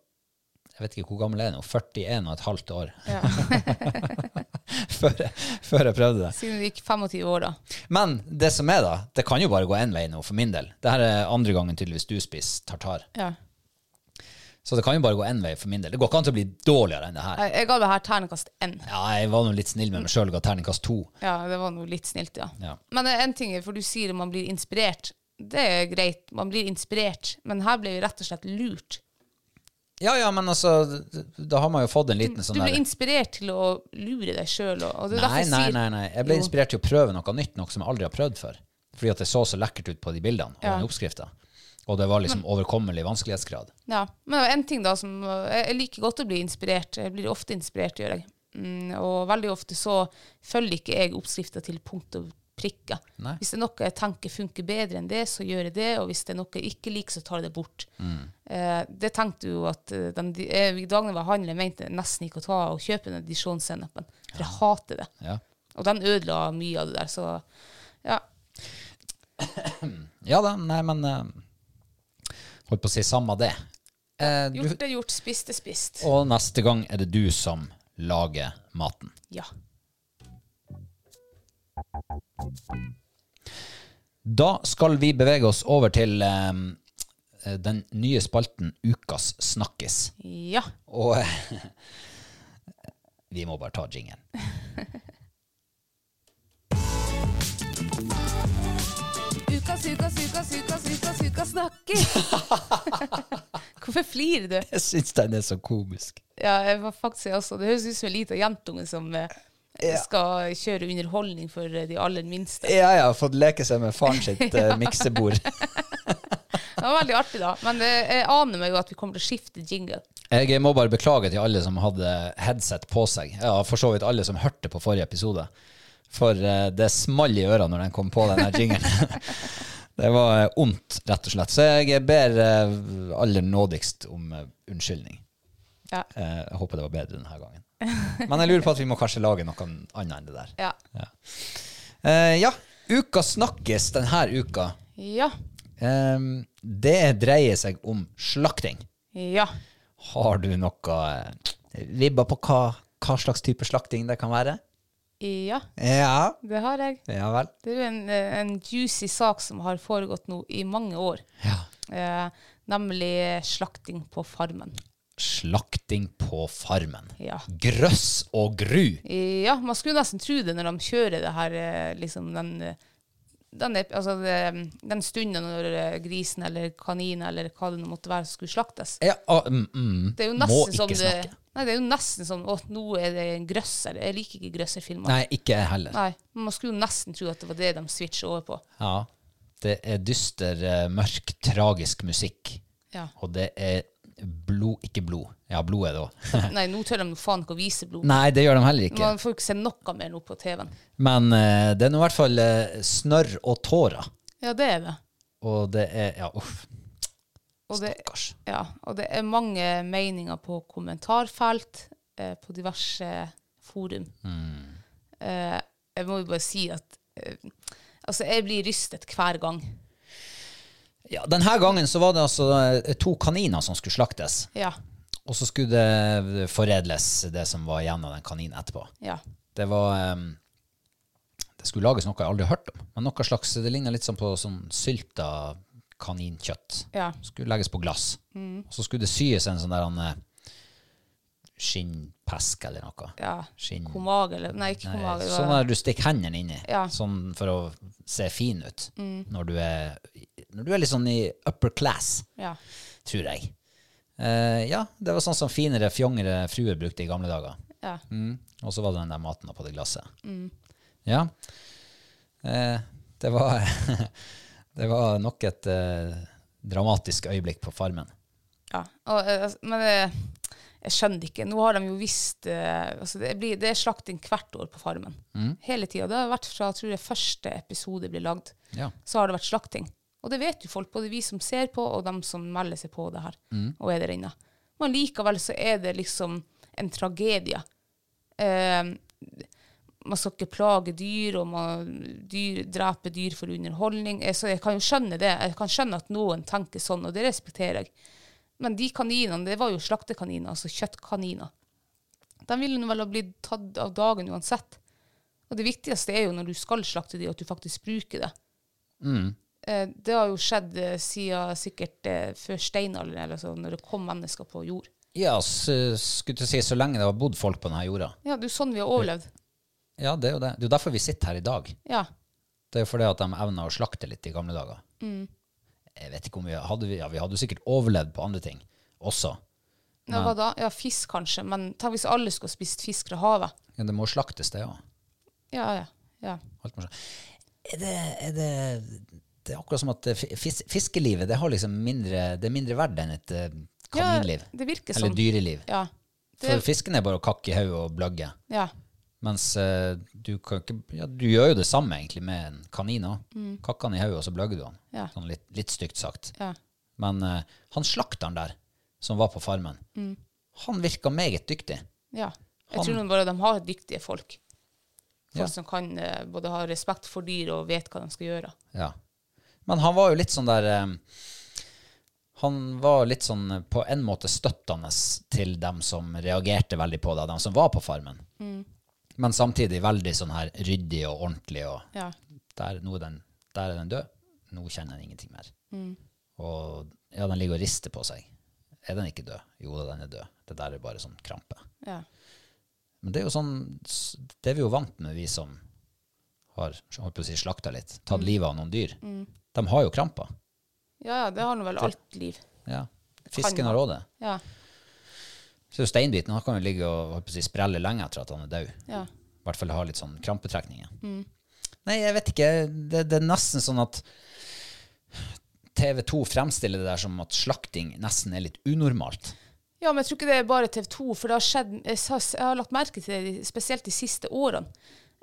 Speaker 1: Jeg vet ikke hvor gammel jeg er nå. 41 og et halvt år
Speaker 2: Ja.
Speaker 1: [laughs] før, før jeg prøvde det.
Speaker 2: Siden du gikk 25 år, da.
Speaker 1: Men det som er, da Det kan jo bare gå én vei nå, for min del. Det her er andre gangen tydeligvis du spiser tartar.
Speaker 2: Ja.
Speaker 1: Så det kan jo bare gå én vei for min del. Det går ikke an til å bli dårligere enn det her.
Speaker 2: Jeg, jeg ga det her ternekast N.
Speaker 1: Ja, jeg var nå litt snill med meg sjøl og ga terningkast to.
Speaker 2: Ja, det var noe litt snilt, ja.
Speaker 1: Ja.
Speaker 2: Men eh, en ting er, for du sier man blir inspirert. Det er greit, man blir inspirert, men her ble vi rett og slett lurt.
Speaker 1: Ja ja, men altså, da har man jo fått en liten
Speaker 2: Du
Speaker 1: sånn
Speaker 2: ble
Speaker 1: der
Speaker 2: inspirert til å lure deg sjøl. Og, og det er derfor
Speaker 1: Nei,
Speaker 2: jeg
Speaker 1: nei,
Speaker 2: sier-
Speaker 1: nei, nei. Jeg ble
Speaker 2: Jo.
Speaker 1: inspirert til å prøve noe nytt, noe som jeg aldri har prøvd før. Fordi at det så så lekkert ut på de bildene og
Speaker 2: Ja.
Speaker 1: den oppskrifta. Og det var liksom overkommelig vanskelighetsgrad.
Speaker 2: Ja, men en ting da som eh, Jeg liker godt å bli inspirert. Jeg blir ofte inspirert, gjør jeg. Mm, og veldig ofte så følger ikke jeg oppskrifta til punkt og prikke.
Speaker 1: Nei.
Speaker 2: Hvis det er noe jeg tenker funker bedre enn det, så gjør jeg det. Og hvis det er noe jeg ikke liker, så tar jeg det bort.
Speaker 1: Mm.
Speaker 2: Eh, det tenkte jo at eh, den, di- eh, I dag når jeg var handler, mente jeg nesten ikke å ta og kjøpe den dijon-sennepen. For jeg hater det.
Speaker 1: Ja.
Speaker 2: Og den ødela mye av det der, så ja.
Speaker 1: ja da, nei, men eh, Holdt på å si samme det. Eh, du,
Speaker 2: Gjort er gjort, spist er spist.
Speaker 1: og neste gang er det du som lager maten.
Speaker 2: Ja.
Speaker 1: Da skal vi bevege oss over til eh, den nye spalten Ukas snakkis.
Speaker 2: Ja.
Speaker 1: Og [laughs] Vi må bare ta jingen.
Speaker 2: Ukas, ukas, ukas, ukas, ukas, ukas snakker. [laughs] Hvorfor flirer du?
Speaker 1: Jeg syns den er så komisk.
Speaker 2: Ja, jeg var faktisk også, Det høres ut som en liten jentunge som eh,
Speaker 1: Ja.
Speaker 2: skal kjøre underholdning for eh, de aller [laughs] minste.
Speaker 1: Ja, ja, fått leke seg med faren sitt [laughs] eh, miksebord.
Speaker 2: Det var veldig artig, da. Men eh, jeg aner meg jo at vi kommer til å skifte jingle.
Speaker 1: Jeg må bare beklage til alle som hadde headset på seg. Ja, for så vidt alle som hørte på forrige episode. For eh, det small i ørene når den kom på, den her jingelen. [laughs] det var eh, ondt, rett og slett. Så jeg ber eh, aller nådigst om eh, unnskyldning.
Speaker 2: Ja.
Speaker 1: Eh, Jeg håper det var bedre denne gangen. Men jeg lurer på at vi må kanskje lage noe annet enn det der.
Speaker 2: Ja.
Speaker 1: Eh, ja, uka snakkes denne uka.
Speaker 2: Ja.
Speaker 1: Eh, det dreier seg om slakting.
Speaker 2: Ja.
Speaker 1: Har du noe eh, vibber på hva, hva slags type slakting det kan være?
Speaker 2: ja.
Speaker 1: Ja.
Speaker 2: Det har jeg.
Speaker 1: Ja vel.
Speaker 2: Det er jo en, eh, en juicy sak som har foregått nå i mange år. Eh, nemlig slakting på farmen.
Speaker 1: Slakting på farmen.
Speaker 2: Ja.
Speaker 1: Grøss og gru.
Speaker 2: Ja, man skulle nesten tro det når de kjører det her, eh, liksom den eh, den, ep- altså det, den stunden når eh, grisen eller kaninen eller hva det nå måtte være, skulle slaktes.
Speaker 1: Ja, ah, mm, mm.
Speaker 2: Det er jo
Speaker 1: Må
Speaker 2: nesten
Speaker 1: ikke
Speaker 2: som det,
Speaker 1: snakke.
Speaker 2: Nei, det er jo nesten som Å, nå er det en grøsser. Jeg liker ikke grøsserfilmer.
Speaker 1: Nei, ikke jeg heller.
Speaker 2: Nei, men Man skulle jo nesten tro at det var det de switcher over på.
Speaker 1: Ja. Det er dyster, eh, mørk, tragisk musikk.
Speaker 2: Ja.
Speaker 1: Og det er blod Ikke blod. Ja, blod er det òg.
Speaker 2: Nei, nå tør de nå faen ikke å vise blod.
Speaker 1: [laughs] Nei, det gjør de heller ikke.
Speaker 2: Man får jo ikke se noe mer nå på TV-en.
Speaker 1: Men eh, det er nå i hvert fall eh, snørr og tårer.
Speaker 2: Ja, det er det.
Speaker 1: Og det er Ja, uff.
Speaker 2: Og det,
Speaker 1: Stakkars.
Speaker 2: ja, og det er mange meninger på kommentarfelt, eh, på diverse forum.
Speaker 1: Mm.
Speaker 2: Eh, jeg må jo bare si at eh, Altså, jeg blir rystet hver gang.
Speaker 1: Ja, denne gangen så var det altså eh, to kaniner som skulle slaktes,
Speaker 2: Ja.
Speaker 1: og så skulle det foredles det som var igjen av den kaninen etterpå.
Speaker 2: Ja.
Speaker 1: Det var eh, Det skulle lages noe jeg aldri har hørt om, men noe slags Det ligner litt sånn på sånn sylta kaninkjøtt.
Speaker 2: Ja.
Speaker 1: Skulle legges på glass.
Speaker 2: Mm.
Speaker 1: Og så skulle det syes en sånn der han, eh, skinnpesk eller noe.
Speaker 2: ja.
Speaker 1: Skinn...
Speaker 2: Komag, eller Nei, ikke
Speaker 1: Nei,
Speaker 2: komag. det
Speaker 1: Sånn
Speaker 2: var-
Speaker 1: der du stikker hendene inni,
Speaker 2: Ja. Mm.
Speaker 1: sånn for å se fin ut når, du er, når du er litt sånn i upper class,
Speaker 2: Ja.
Speaker 1: tror jeg. Eh, ja, det var sånn som finere, fjongere fruer brukte i gamle dager.
Speaker 2: Ja.
Speaker 1: Mm. Og så var det den der maten da på det glasset. Ja. Eh, det var [laughs] Det var nok et eh, dramatisk øyeblikk på farmen.
Speaker 2: ja. Og, eh, altså, men eh, jeg skjønner ikke. Nå har de jo visst eh, altså det, blir, det er slakting hvert år på Farmen.
Speaker 1: Mm.
Speaker 2: Hele tida. Det har vært fra jeg tror jeg første episode ble lagd.
Speaker 1: Ja.
Speaker 2: så har det vært slakting. Og det vet jo folk, både vi som ser på, og dem som melder seg på det her, og er der inne. Men likevel så er det liksom en tragedie. Eh, man skal ikke plage dyr, og man dyr, dreper dyr for underholdning. Eh, Så jeg kan jo skjønne det. Jeg kan skjønne at noen tenker sånn, og det respekterer jeg. Men de kaninene, det var jo slaktekaniner, altså kjøttkaniner. De ville nå vel ha blitt tatt av dagen uansett. Og det viktigste er jo når du skal slakte de, at du faktisk bruker det. Eh, Det har jo skjedd eh, siden sikkert eh, før steinalderen, eller så, når det kom mennesker på jord.
Speaker 1: Ja, s- skulle til å si så lenge det har bodd folk på denne jorda.
Speaker 2: Ja, det er jo sånn vi har overlevd.
Speaker 1: Ja, det er jo det. Det er jo derfor vi sitter her i dag.
Speaker 2: Ja.
Speaker 1: Det er jo fordi at de evna å slakte litt i gamle dager. Jeg vet ikke om vi hadde vi, ja, vi hadde jo sikkert overlevd på andre ting også.
Speaker 2: Ja, hva da? Ja, fisk kanskje, men tenk hvis alle skulle ha spist fisk fra havet.
Speaker 1: Ja, det må slaktes, det òg.
Speaker 2: Ja, ja, ja.
Speaker 1: Er det, er det, det er akkurat som at eh, fi- fis, fiskelivet det, har liksom mindre, det er mindre verdt enn et eh, kaninliv.
Speaker 2: Ja, det virker
Speaker 1: eller
Speaker 2: sånn.
Speaker 1: dyreliv.
Speaker 2: Ja. Det,
Speaker 1: For fisken er bare å kakke i hodet og bløgge.
Speaker 2: ja.
Speaker 1: Mens eh, du, kan ikke, ja, du gjør jo det samme egentlig med en kanin òg. Kakker han i hodet, og så bløgger du han.
Speaker 2: Mm. Ja.
Speaker 1: Sånn litt, litt stygt sagt.
Speaker 2: Ja.
Speaker 1: Men eh, han slakteren der, som var på farmen,
Speaker 2: Mm.
Speaker 1: han virka meget dyktig.
Speaker 2: ja.
Speaker 1: Han-
Speaker 2: Jeg tror nå bare de har dyktige folk. Folk
Speaker 1: Ja.
Speaker 2: som kan eh, både ha respekt for dyr og vet hva de skal gjøre.
Speaker 1: Ja. Men han var jo litt sånn der eh, Han var litt sånn eh, på en måte støttende til dem som reagerte veldig på det, dem som var på farmen. Men samtidig veldig sånn her ryddig og ordentlig og
Speaker 2: Ja.
Speaker 1: der, nå er den, der er den død. Nå kjenner den ingenting mer. Og ja, den ligger og rister på seg. Er den ikke død? Jo da, den er død. Det der er bare sånn krampe.
Speaker 2: Ja.
Speaker 1: Men det er jo sånn s- Det er vi jo vant med, vi som har holdt på å si, slakta litt,
Speaker 2: Mm.
Speaker 1: tatt livet av noen dyr, de har jo kramper.
Speaker 2: Ja, ja, det har nå vel alt liv.
Speaker 1: Ja. Fisken har råd det.
Speaker 2: Ja.
Speaker 1: Så er jo steinbiten han kan jo ligge og holdt på å si, sprelle lenge etter at han er død.
Speaker 2: Ja.
Speaker 1: I hvert fall ha litt sånn krampetrekninger.
Speaker 2: Mm.
Speaker 1: Nei, jeg vet ikke. Det, det er nesten sånn at TV 2 fremstiller det der som at slakting nesten er litt unormalt.
Speaker 2: Ja, men jeg tror ikke det er bare TV 2, for det har skjedd, jeg har, jeg har lagt merke til det de- spesielt de siste årene.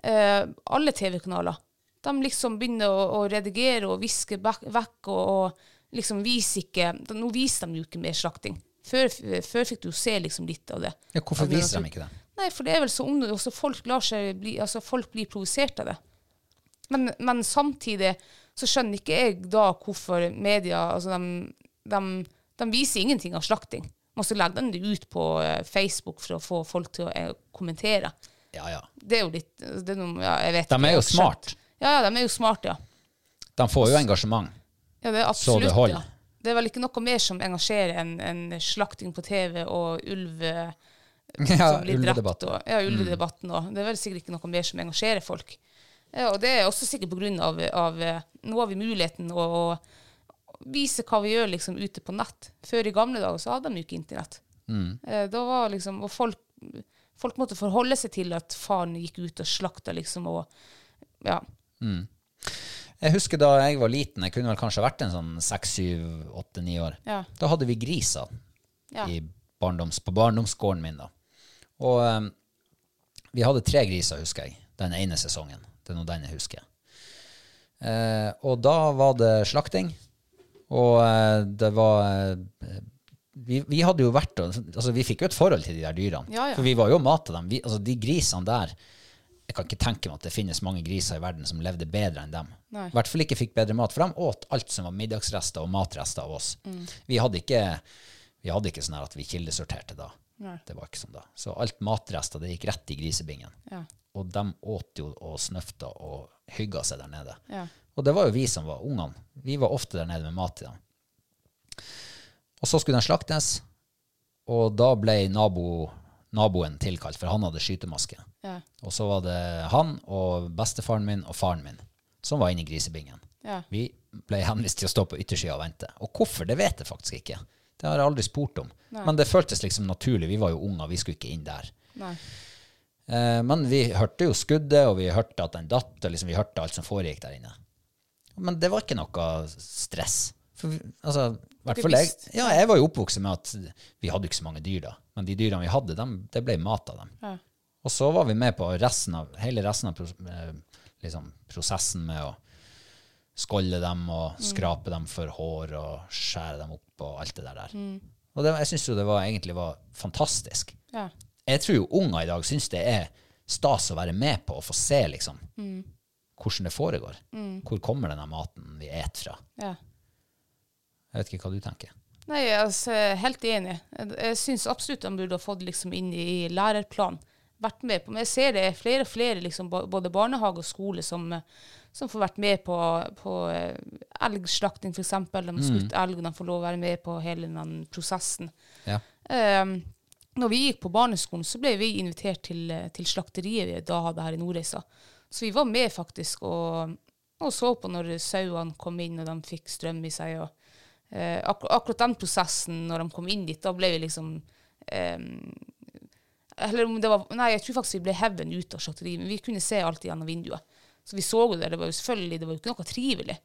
Speaker 2: Eh, alle TV-kanaler. De liksom begynner å, å redigere og viske bak- vekk og, og liksom viser ikke da- Nå viser de jo ikke mer slakting. Før, før fikk du jo se liksom litt av det.
Speaker 1: Ja, hvorfor
Speaker 2: Av det
Speaker 1: viser de
Speaker 2: natur-
Speaker 1: ikke det?
Speaker 2: Nei, for det er vel så unødvendig. Også folk, lar seg bli, altså folk blir provosert av det. Men, men samtidig så skjønner ikke jeg da hvorfor media altså de, de, de viser ingenting av slakting. Og så legger de det ut på eh, Facebook for å få folk til å eh, kommentere.
Speaker 1: Ja, ja.
Speaker 2: Det er jo litt det er noe, ja, jeg vet
Speaker 1: De
Speaker 2: ikke,
Speaker 1: er jo
Speaker 2: jeg har ikke skjønt.
Speaker 1: smart.
Speaker 2: Ja, ja, de er jo smart, ja.
Speaker 1: De får jo engasjement.
Speaker 2: ja det er
Speaker 1: Så
Speaker 2: absolutt,
Speaker 1: det holder.
Speaker 2: Ja. Det er vel ikke noe mer som engasjerer enn enn slakting på TV og ulv eh,
Speaker 1: Ja,
Speaker 2: som blir drept.
Speaker 1: ulvedebatten.
Speaker 2: Og, ja, ulvedebatten òg. Det er vel sikkert ikke noe mer som engasjerer folk. Ja, og det er også sikkert på grunn av, av eh, Nå har vi muligheten å, å vise hva vi gjør liksom ute på nett. Før i gamle dager så hadde de jo ikke internett.
Speaker 1: Mm.
Speaker 2: Eh, Da var liksom, og folk, folk måtte forholde seg til at faren gikk ut og slakta, liksom, og ja.
Speaker 1: Jeg husker da jeg var liten, jeg kunne vel kanskje vært en sånn seks, syv, åtte, ni år.
Speaker 2: Ja.
Speaker 1: Da hadde vi griser
Speaker 2: Ja.
Speaker 1: i barndoms, på barndomsgården min. da. Og eh, vi hadde tre griser, husker jeg, den ene sesongen. Det er nå den jeg husker. Eh, og da var det slakting, og eh, det var eh, vi, vi hadde jo vært, og- altså vi fikk jo et forhold til de der dyrene.
Speaker 2: Ja, ja.
Speaker 1: For vi var jo mat til dem. Vi, altså de grisene der Jeg kan ikke tenke meg at det finnes mange griser i verden som levde bedre enn dem.
Speaker 2: Nei.
Speaker 1: I hvert fall ikke fikk bedre mat, for de åt alt som var middagsrester og matrester av oss.
Speaker 2: Mm.
Speaker 1: Vi hadde ikke, vi hadde ikke sånn her at vi kildesorterte da. Det var ikke sånn da. Så alt matrester, det gikk rett i grisebingen.
Speaker 2: Ja.
Speaker 1: Og de åt jo og snøfta og hygga seg der nede.
Speaker 2: Ja.
Speaker 1: Og det var jo vi som var ungene. Vi var ofte der nede med mat til dem. Og så skulle den slaktes, og da ble nabo, naboen tilkalt, for han hadde skytemaske.
Speaker 2: Ja.
Speaker 1: Og så var det han og bestefaren min og faren min som var inne i grisebingen.
Speaker 2: Ja.
Speaker 1: Vi ble henvist til å stå på yttersida og vente. Og hvorfor, det vet jeg faktisk ikke. Det har jeg aldri spurt om. Men det føltes liksom naturlig. Vi var jo unger, vi skulle ikke inn der.
Speaker 2: Nei.
Speaker 1: Eh, men vi hørte jo skuddet, og vi hørte at den datt, og liksom, vi hørte alt som foregikk der inne. Men det var ikke noe stress. For, vi- altså, i hvert
Speaker 2: Dere
Speaker 1: fall jeg,
Speaker 2: visste.
Speaker 1: ja, jeg var jo oppvokst med at vi hadde ikke så mange dyr da, men de dyrene vi hadde, dem, det ble mat av dem. Og så var vi med på resten av, hele resten av pros eh, liksom, prosessen med å skålle dem
Speaker 2: Mm.
Speaker 1: og skrape dem for hår og skjære dem opp og alt det der. der.
Speaker 2: Mm.
Speaker 1: Og det, var- jeg syns jo det var, egentlig var fantastisk.
Speaker 2: Ja.
Speaker 1: Jeg tror jo unger i dag syns det er stas å være med på og få se liksom,
Speaker 2: Mm.
Speaker 1: hvordan det foregår. Hvor kommer denne maten vi et fra?
Speaker 2: Ja.
Speaker 1: Jeg vet ikke hva du tenker.
Speaker 2: Nei, altså, jeg er helt enig. Jeg- Jeg syns absolutt han burde ha fått liksom inn i lærerplanen. Vært med på. Men jeg ser det er flere og flere, liksom, ba- både barnehage og skole, som, eh, som får vært med på, på eh, elgslakting, f.eks. De har skutt elg, og de får lov å være med på hele den prosessen.
Speaker 1: Ja.
Speaker 2: Um, når vi gikk på barneskolen, så ble vi invitert til, eh, til slakteriet vi da hadde her i Nordreisa. Så vi var med faktisk og, og så på når sauene kom inn og de fikk strøm i seg. Og, eh, ak akkurat den prosessen når de kom inn dit, da ble vi liksom em, eller om det var, nei, jeg tror faktisk vi ble heven ut av slakteriet, men vi kunne se alt gjennom vinduet. Så vi så jo det. Det var jo selvfølgelig det var jo ikke noe trivelig.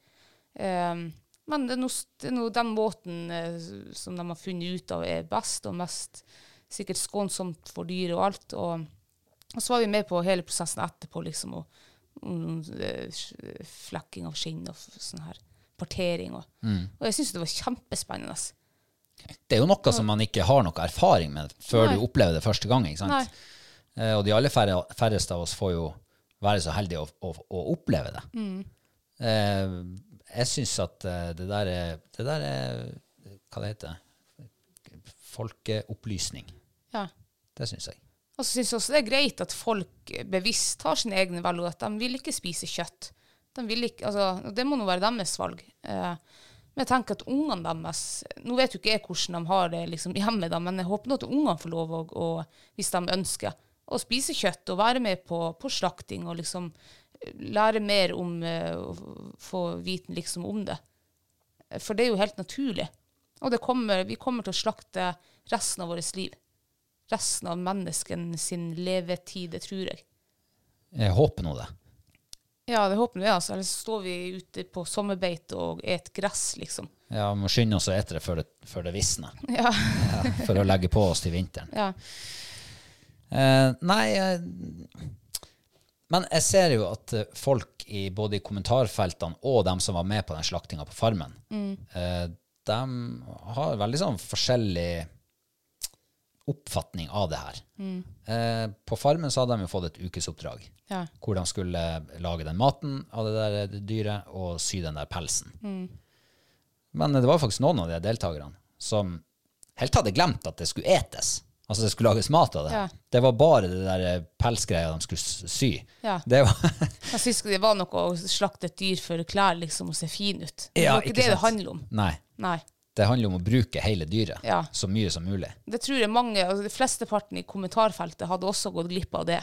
Speaker 2: Ehm, men det er nå s- det er nå den måten eh, s- som de har funnet ut av er best og mest sikkert skånsomt for dyret og alt. Og, og så var vi med på hele prosessen etterpå, liksom, og mm, eh, s- flekking av skinn og f- sånn her partering. Og, og jeg syns det var kjempespennende. ass.
Speaker 1: Det er jo noe som man ikke har noe erfaring med før
Speaker 2: Nei.
Speaker 1: du opplever det første gang. ikke
Speaker 2: Nei.
Speaker 1: sant? Eh, og de aller færre, færreste av oss får jo være så heldige å, å, å oppleve det.
Speaker 2: Mm.
Speaker 1: Eh, jeg syns at eh, det der er, det der er Hva det heter det? Folkeopplysning.
Speaker 2: Ja.
Speaker 1: Det syns jeg.
Speaker 2: Og så syns jeg også det er greit at folk bevisst tar sine egne valg, og at de vil ikke spise kjøtt. De vil ikke, altså, og det må nå være deres valg. Eh, men jeg tenker at ungene deres Nå vet jo ikke jeg hvordan de har det liksom, hjemme, da, men jeg håper nå at ungene får lov, å- å, hvis de ønsker, å spise kjøtt og være med på, på slakting og liksom lære mer om eh, å få viten liksom om det. For det er jo helt naturlig. Og det kommer, vi kommer til å slakte resten av vårt liv. Resten av mennesken sin levetid, det tror jeg.
Speaker 1: Jeg håper nå det.
Speaker 2: Ja, det håper vi, altså. Ellers står vi ute på sommerbeite og et gress, liksom.
Speaker 1: Ja, vi må skynde oss å ete det før det, før det visner.
Speaker 2: Ja.
Speaker 1: Ja, for å legge på oss til vinteren.
Speaker 2: ja.
Speaker 1: Eh, nei eh, Men jeg ser jo at eh, folk i både i kommentarfeltene og dem som var med på den slaktinga på Farmen, eh, de har veldig sånn forskjellig oppfatning av det her. Eh, på Farmen så hadde de jo fått et ukesoppdrag.
Speaker 2: Ja.
Speaker 1: Hvor de skulle lage den maten av det der eh, dyret og sy den der pelsen.
Speaker 2: Mm.
Speaker 1: Men eh, det var faktisk noen av de deltakerne som helt hadde glemt at det skulle etes. Altså det skulle lages mat av det.
Speaker 2: Ja.
Speaker 1: Det var bare det der eh, pelsgreia de skulle s- sy.
Speaker 2: Ja.
Speaker 1: Det var, [laughs]
Speaker 2: Jeg syns ikke det var noe å slakte et dyr for klær liksom, og se fin ut. Det
Speaker 1: Ja,
Speaker 2: var ikke,
Speaker 1: ikke
Speaker 2: det det
Speaker 1: sant.
Speaker 2: handler om.
Speaker 1: nei,
Speaker 2: Nei.
Speaker 1: det handler om å bruke hele dyret
Speaker 2: Ja.
Speaker 1: så mye som mulig.
Speaker 2: Det tror jeg mange, altså, de flesteparten i kommentarfeltet hadde også gått glipp av det.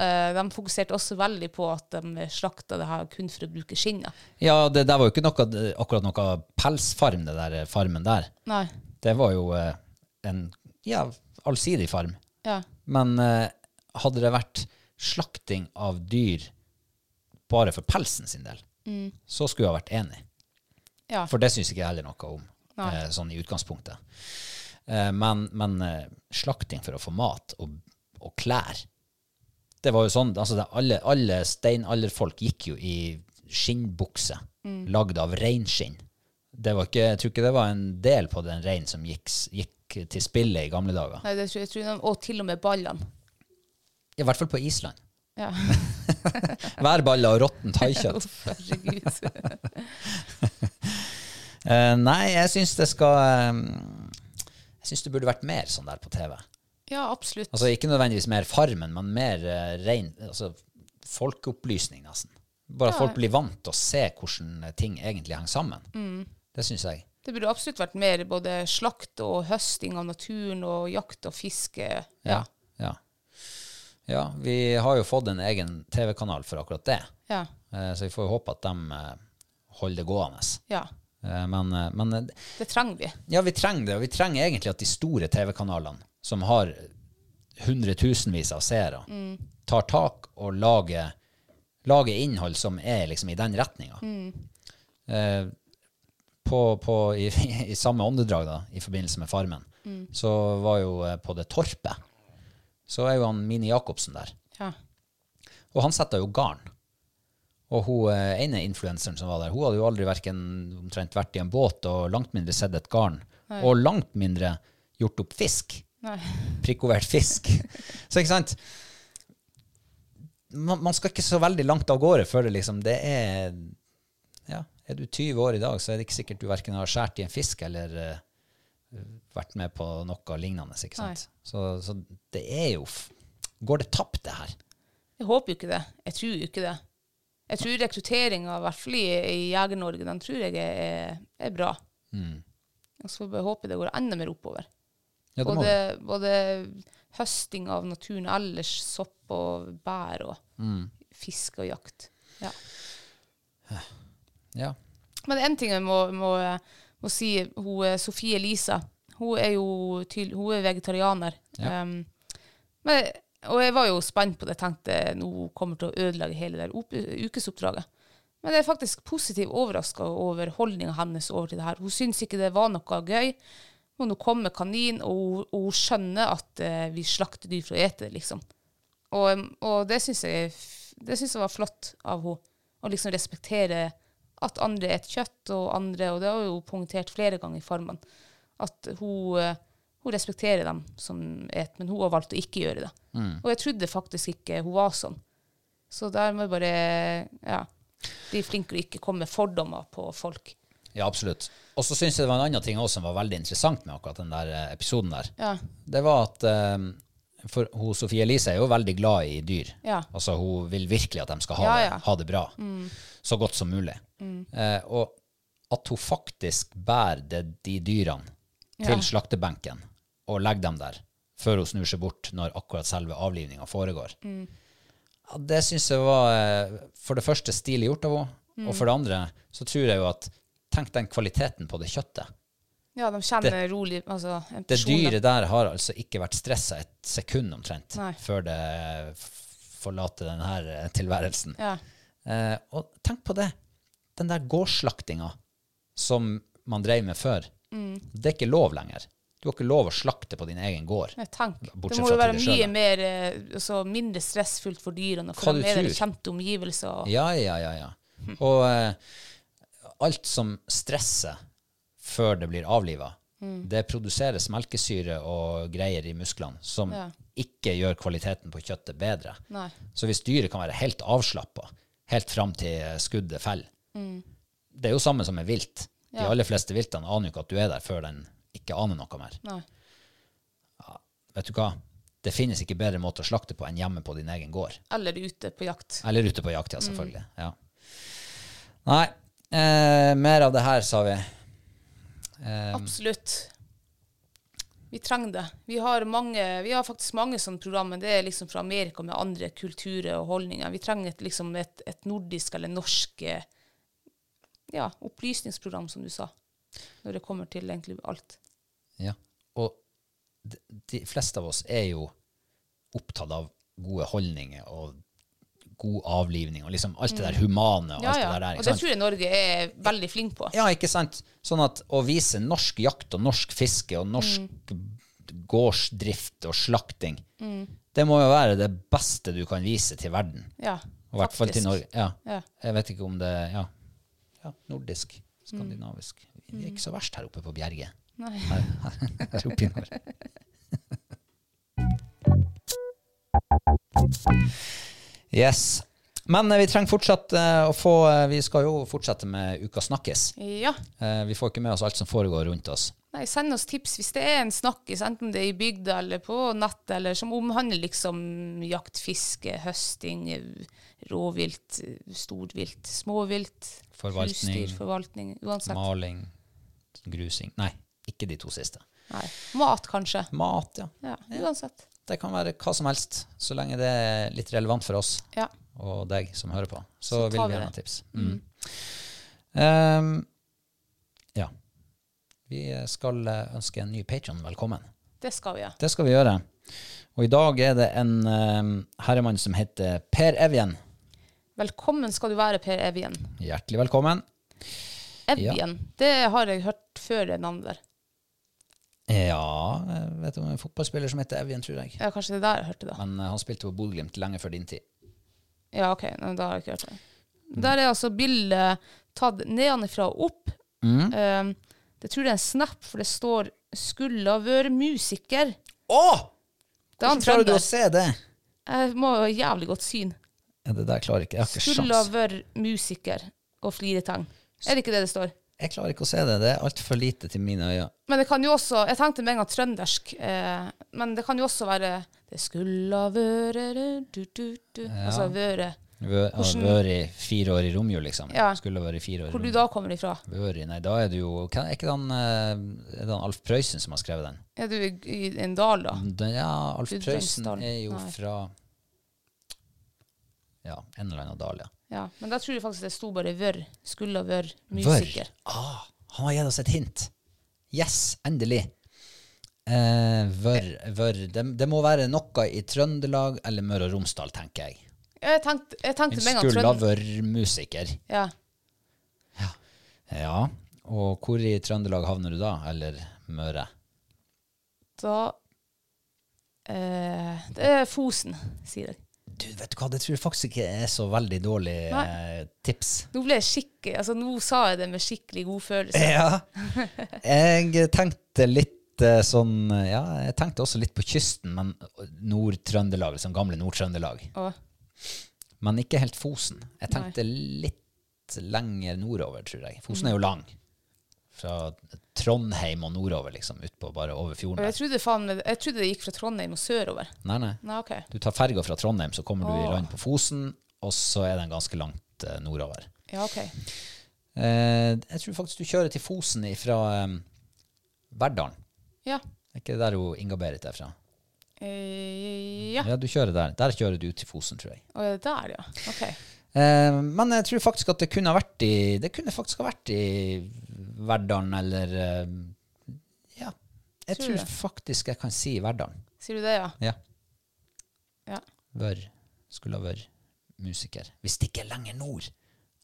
Speaker 2: Eh, de fokuserte også veldig på at de slakta det her kun for å bruke skinnet.
Speaker 1: Ja, det der var jo ikke noe, akkurat noe pelsfarm, det der eh, farmen der.
Speaker 2: Nei.
Speaker 1: Det var jo eh, en ja, allsidig farm.
Speaker 2: Ja.
Speaker 1: Men eh, hadde det vært slakting av dyr bare for pelsen sin del, så skulle jeg ha vært enig.
Speaker 2: Ja.
Speaker 1: For det syns ikke jeg heller noe om,
Speaker 2: Nei.
Speaker 1: eh, sånn i utgangspunktet. Eh, men men eh, slakting for å få mat og, og klær Det var jo sånn altså det, Alle, alle steinalderfolk gikk jo i skinnbukse lagd av reinskinn. Det var ikke, jeg tror ikke det var en del på den reinen som gikk, s- gikk til spille i gamle dager.
Speaker 2: Nei, det tror jeg, tror de, og til og med ballene.
Speaker 1: I hvert fall på Island.
Speaker 2: [laughs] Ja.
Speaker 1: Værballer og råttent haikjøtt.
Speaker 2: Uff, Herregud.
Speaker 1: Eh, nei, jeg syns det skal eh, Jeg syns det burde vært mer sånn der på TV.
Speaker 2: Ja, absolutt.
Speaker 1: Altså Ikke nødvendigvis mer Farmen, men mer eh, rein altså, folkeopplysning, nesten. Bare at folk blir vant til å se hvordan eh, ting egentlig henger sammen. Det syns jeg.
Speaker 2: Det burde absolutt vært mer både slakt og høsting av naturen og jakt og fiske.
Speaker 1: Ja. ja. Ja, vi har jo fått en egen TV-kanal for akkurat det,
Speaker 2: Ja.
Speaker 1: Eh, så vi får jo håpe at de eh, holder det gående.
Speaker 2: ja.
Speaker 1: Eh, men, eh, men eh,
Speaker 2: Det trenger vi.
Speaker 1: Ja, vi trenger det, og vi trenger egentlig at de store TV-kanalene, som har hundretusenvis av seere, tar tak og lager, lager innhold som er liksom i den retninga. Eh, på, på, i, [laughs] I samme åndedrag, da, i forbindelse med Farmen, så var jo eh, på det torpet, så er jo han Mini Jacobsen der.
Speaker 2: Ja.
Speaker 1: Og han setter jo garn. Og hun eh, ene influenseren som var der, hun hadde jo aldri hverken omtrent vært i en båt og langt mindre sett et garn. Og langt mindre gjort opp fisk.
Speaker 2: Nei.
Speaker 1: Prikkovert fisk. Så ikke sant? Man, man skal ikke så veldig langt av gårde før det liksom Det er Ja, er du 20 år i dag, så er det ikke sikkert du verken har skåret i en fisk eller eh, vært med på noe lignende. ikke sant? Så, så det er jo f- Går det tapt, det her?
Speaker 2: Jeg håper jo ikke det. Jeg tror jo ikke det. Jeg tror rekrutteringa, i hvert fall i, i Jeger-Norge, den tror jeg er, er- er bra.
Speaker 1: Mm.
Speaker 2: Og så får vi bare håpe det går enda mer oppover.
Speaker 1: Ja, det må
Speaker 2: både,
Speaker 1: det.
Speaker 2: både høsting av naturen ellers, sopp og bær og
Speaker 1: Mm.
Speaker 2: fiske og jakt. Ja.
Speaker 1: Ja.
Speaker 2: Men en ting jeg må, må, må si, hun eh, Sofie Elise, hun er jo tydel- hun er vegetarianer. Um, men, og jeg var jo spent på det, tenkte nå kommer til å ødelegge hele det der op- ukesoppdraget. Men jeg er faktisk positivt overraska over holdninga hennes over til det her. Hun syns ikke det var noe gøy. Men hun kom med kanin, og hun, og hun skjønner at eh, vi slakter dyr for å ete det, liksom. Og, og det syns jeg, det synes jeg var flott av henne. Å liksom respektere at andre er et kjøtt, og andre Og det har hun punktert flere ganger i Farmen. At hun, eh, hun respekterer dem som et, men hun har valgt å ikke gjøre det. Og jeg trodde faktisk ikke hun var sånn. Så der må jeg bare Ja. Bli flinkere å ikke komme med fordommer på folk.
Speaker 1: Ja, absolutt. Og så syns jeg det var en annen ting også som var veldig interessant med akkurat den der eh, episoden der.
Speaker 2: Ja.
Speaker 1: Det var at eh, for hun, Sofie Elise er jo veldig glad i dyr.
Speaker 2: Ja.
Speaker 1: Altså Hun vil virkelig at de skal ha,
Speaker 2: Ja,
Speaker 1: det,
Speaker 2: ja. Mm.
Speaker 1: ha det bra. Så godt som mulig. Eh, og at hun faktisk bærer det, de dyrene til slaktebenken
Speaker 2: Mm.
Speaker 1: og legger dem der før hun snur seg bort når akkurat selve avlivninga foregår. Ja, det syns jeg var eh, for det første stilig gjort av henne,
Speaker 2: Mm.
Speaker 1: og for det andre så tror jeg jo at Tenk den kvaliteten på det kjøttet.
Speaker 2: Ja, de kjenner rolig altså, en
Speaker 1: Det
Speaker 2: person, da.
Speaker 1: dyret der har altså ikke vært stressa et sekund omtrent
Speaker 2: Nei.
Speaker 1: før det f- forlater denne tilværelsen.
Speaker 2: Ja.
Speaker 1: Eh, og tenk på det. Den der gårdsslaktinga som man drev med før,
Speaker 2: Mm.
Speaker 1: det er ikke lov lenger. Du har ikke lov å slakte på din egen gård.
Speaker 2: Nei, tenk.
Speaker 1: Bortsett
Speaker 2: det må
Speaker 1: fra
Speaker 2: jo være
Speaker 1: til det
Speaker 2: mye
Speaker 1: sjøl, da.
Speaker 2: mer, eh, altså, mindre stressfullt for dyrene. og
Speaker 1: Hva
Speaker 2: For
Speaker 1: du
Speaker 2: de er i
Speaker 1: tror.
Speaker 2: kjente omgivelser. og-
Speaker 1: Ja, ja, ja. ja.
Speaker 2: Hm.
Speaker 1: Og eh, alt som stresser før det blir avliva,
Speaker 2: Mm.
Speaker 1: det produseres melkesyre og greier i musklene som
Speaker 2: Ja.
Speaker 1: ikke gjør kvaliteten på kjøttet bedre.
Speaker 2: Nei.
Speaker 1: Så hvis dyret kan være helt avslappa helt fram til eh, skuddet faller Det er jo samme som med vilt. De
Speaker 2: Ja.
Speaker 1: aller fleste viltene aner jo ikke at du er der før den ikke aner noe mer.
Speaker 2: Nei.
Speaker 1: Vet du hva? Det finnes ikke bedre måte å slakte på enn hjemme på din egen gård.
Speaker 2: Eller ute på jakt.
Speaker 1: Eller ute på jakt,
Speaker 2: Mm.
Speaker 1: ja, selvfølgelig. Ja. Nei, eh, mer av det her, sa vi. Um.
Speaker 2: Absolutt. Vi trenger det. Vi har, mange, vi har faktisk mange sånne program, men det er liksom fra Amerika med andre kulturer og holdninger. Vi trenger et, liksom et, et nordisk eller norsk eh, ja, opplysningsprogram, som du sa, når det kommer til egentlig alt.
Speaker 1: Ja. Og de, de fleste av oss er jo opptatt av gode holdninger og god avlivning og liksom alt det der humane og
Speaker 2: Mm. Ja,
Speaker 1: alt
Speaker 2: ja.
Speaker 1: det der.
Speaker 2: Og
Speaker 1: Ikke
Speaker 2: det
Speaker 1: sant?
Speaker 2: tror jeg Norge er veldig flink på.
Speaker 1: Ja, ikke sant? Sånn at å vise norsk jakt og norsk fiske og norsk gårdsdrift og slakting,
Speaker 2: Mm.
Speaker 1: det må jo være det beste du kan vise til verden.
Speaker 2: Ja,
Speaker 1: I hvert fall til
Speaker 2: faktisk.
Speaker 1: Norge. Ja.
Speaker 2: Ja.
Speaker 1: Jeg vet ikke om det Ja, ja nordisk. Skandinavisk. Vi er ikke så verst her oppe på Bjerget. [laughs]
Speaker 2: Nei.
Speaker 1: Her, her, her oppe i nord. Yes. Men eh, vi trenger fortsatt eh, å få eh, Vi skal jo fortsette med Uka snakkes.
Speaker 2: Ja.
Speaker 1: Eh, vi får ikke med oss alt som foregår rundt oss.
Speaker 2: Nei, send oss tips hvis det er en snakkis, enten det er i bygda eller på nettet, eller som omhandler liksom jakt, fiske, høsting, eh, rovvilt, eh, storvilt, småvilt,
Speaker 1: Forvaltning.
Speaker 2: husdyr, forvaltning, uansett.
Speaker 1: Maling, grusing Nei, ikke de to siste.
Speaker 2: Nei. Mat, kanskje.
Speaker 1: Mat, ja.
Speaker 2: Ja, uansett.
Speaker 1: Det kan være hva som helst, så lenge det er litt relevant for oss
Speaker 2: Ja.
Speaker 1: og deg som hører på. Så,
Speaker 2: Så tar
Speaker 1: vil vi
Speaker 2: vi
Speaker 1: gjerne ha
Speaker 2: det.
Speaker 1: tips. Mm. Ehm, ja. Vi skal eh, ønske en ny patron velkommen.
Speaker 2: Det skal vi, ja.
Speaker 1: Det skal vi gjøre. Og i dag er det en eh, herremann som heter Per Evjen.
Speaker 2: Velkommen skal du være, Per Evjen.
Speaker 1: Hjertelig velkommen.
Speaker 2: Evjen, det har jeg hørt før det navnet der.
Speaker 1: Ja, jeg vet om en fotballspiller som heter Evjen, tror jeg.
Speaker 2: Ja, kanskje det er der jeg hørte det.
Speaker 1: Men eh, han spilte på Bodø-Glimt lenge før din tid.
Speaker 2: Ja, ok, Nei, da har jeg ikke hørt det. Der er altså bildet tatt nedenfra og opp.
Speaker 1: Mm.
Speaker 2: Eh, det tror jeg er en snap, for det står 'skulle ha vært musiker'.
Speaker 1: Å!
Speaker 2: Det er han
Speaker 1: Hvordan klarer du å
Speaker 2: trønder.
Speaker 1: se det?
Speaker 2: altså. Jeg må ha jævlig godt syn.
Speaker 1: Ja, Det der klarer ikke jeg. har ikke
Speaker 2: 'Skulle ha
Speaker 1: sjans.
Speaker 2: vært musiker' og fliretang. Er det ikke det det står?
Speaker 1: Jeg klarer ikke å se det. Det er altfor lite til mine øyne.
Speaker 2: Men det kan jo også Jeg tenkte med en gang trøndersk, eh, men det kan jo også være 'Det skulle ha vært du, du, du. Altså vært
Speaker 1: Vø- ja,
Speaker 2: Hvordan-
Speaker 1: Vært fire år i romjul, liksom.
Speaker 2: Ja.
Speaker 1: Skulle vært fire år i
Speaker 2: Hvor du
Speaker 1: romjul.
Speaker 2: da kommer ifra?
Speaker 1: Vært- Nei, da er det jo kan- Er ikke den, eh, er det han Alf Prøysen som har skrevet den?
Speaker 2: Er du i, i en dal, da?
Speaker 1: den ja, Alf Prøysen
Speaker 2: Gudbrandsdalen.
Speaker 1: er jo
Speaker 2: Nei.
Speaker 1: fra Ja, en eller annen dal, ja.
Speaker 2: Ja, men da tror jeg faktisk det sto bare 'vørr'. Skulle ha vært musiker.
Speaker 1: Vør. Ah, han har gitt oss et hint. Yes, endelig. Eh, vør, vør. Det, det må være noe i Trøndelag eller Møre og Romsdal, tenker jeg.
Speaker 2: Jeg tenkte, jeg
Speaker 1: En
Speaker 2: tenkte med en gang
Speaker 1: skulle ha
Speaker 2: Trøndelag.
Speaker 1: vært musiker.
Speaker 2: Ja.
Speaker 1: Ja, og hvor i Trøndelag havner du da? Eller Møre?
Speaker 2: Da eh, Det er Fosen, sier jeg.
Speaker 1: Du, vet du hva, det tror jeg faktisk ikke er så veldig dårlig
Speaker 2: Nei.
Speaker 1: eh, tips.
Speaker 2: Nå ble jeg skikkelig Altså, nå sa jeg det med skikkelig god følelse.
Speaker 1: Ja. Jeg tenkte litt eh, sånn Ja, jeg tenkte også litt på kysten, men Nord-Trøndelag, liksom gamle Nord-Trøndelag.
Speaker 2: Og,
Speaker 1: Men ikke helt Fosen. Jeg tenkte litt lenger nordover, tror jeg.
Speaker 2: Mm.
Speaker 1: Fosen er jo lang. Fra Trondheim og nordover, liksom. Utpå bare over
Speaker 2: og
Speaker 1: fjorden.
Speaker 2: jeg
Speaker 1: der.
Speaker 2: trodde faen meg Jeg trodde det gikk fra Trondheim og sørover.
Speaker 1: Nei, nei.
Speaker 2: Nei, OK.
Speaker 1: Du tar ferga fra Trondheim, så kommer du i
Speaker 2: Åh.
Speaker 1: land på Fosen, og så er den ganske langt eh, nordover.
Speaker 2: Ja, OK.
Speaker 1: Eh, jeg tror faktisk du kjører til Fosen fra eh, Verdalen.
Speaker 2: Ja.
Speaker 1: Er ikke det der hun Inga-Berit er fra?
Speaker 2: Eh, Ja.
Speaker 1: Ja, du kjører der. Der kjører du til Fosen, tror jeg.
Speaker 2: Og er det der, ja. Ok.
Speaker 1: Eh, men jeg tror faktisk at det kunne ha vært i Det kunne faktisk ha vært i Verdalen eller eh, Ja. Jeg
Speaker 2: Tror
Speaker 1: tror,
Speaker 2: du det?
Speaker 1: faktisk jeg kan si Verdalen.
Speaker 2: Sier du det, ja?
Speaker 1: Ja.
Speaker 2: Ja.
Speaker 1: Vør skulle ha vært musiker. Hvis det ikke er lenger nord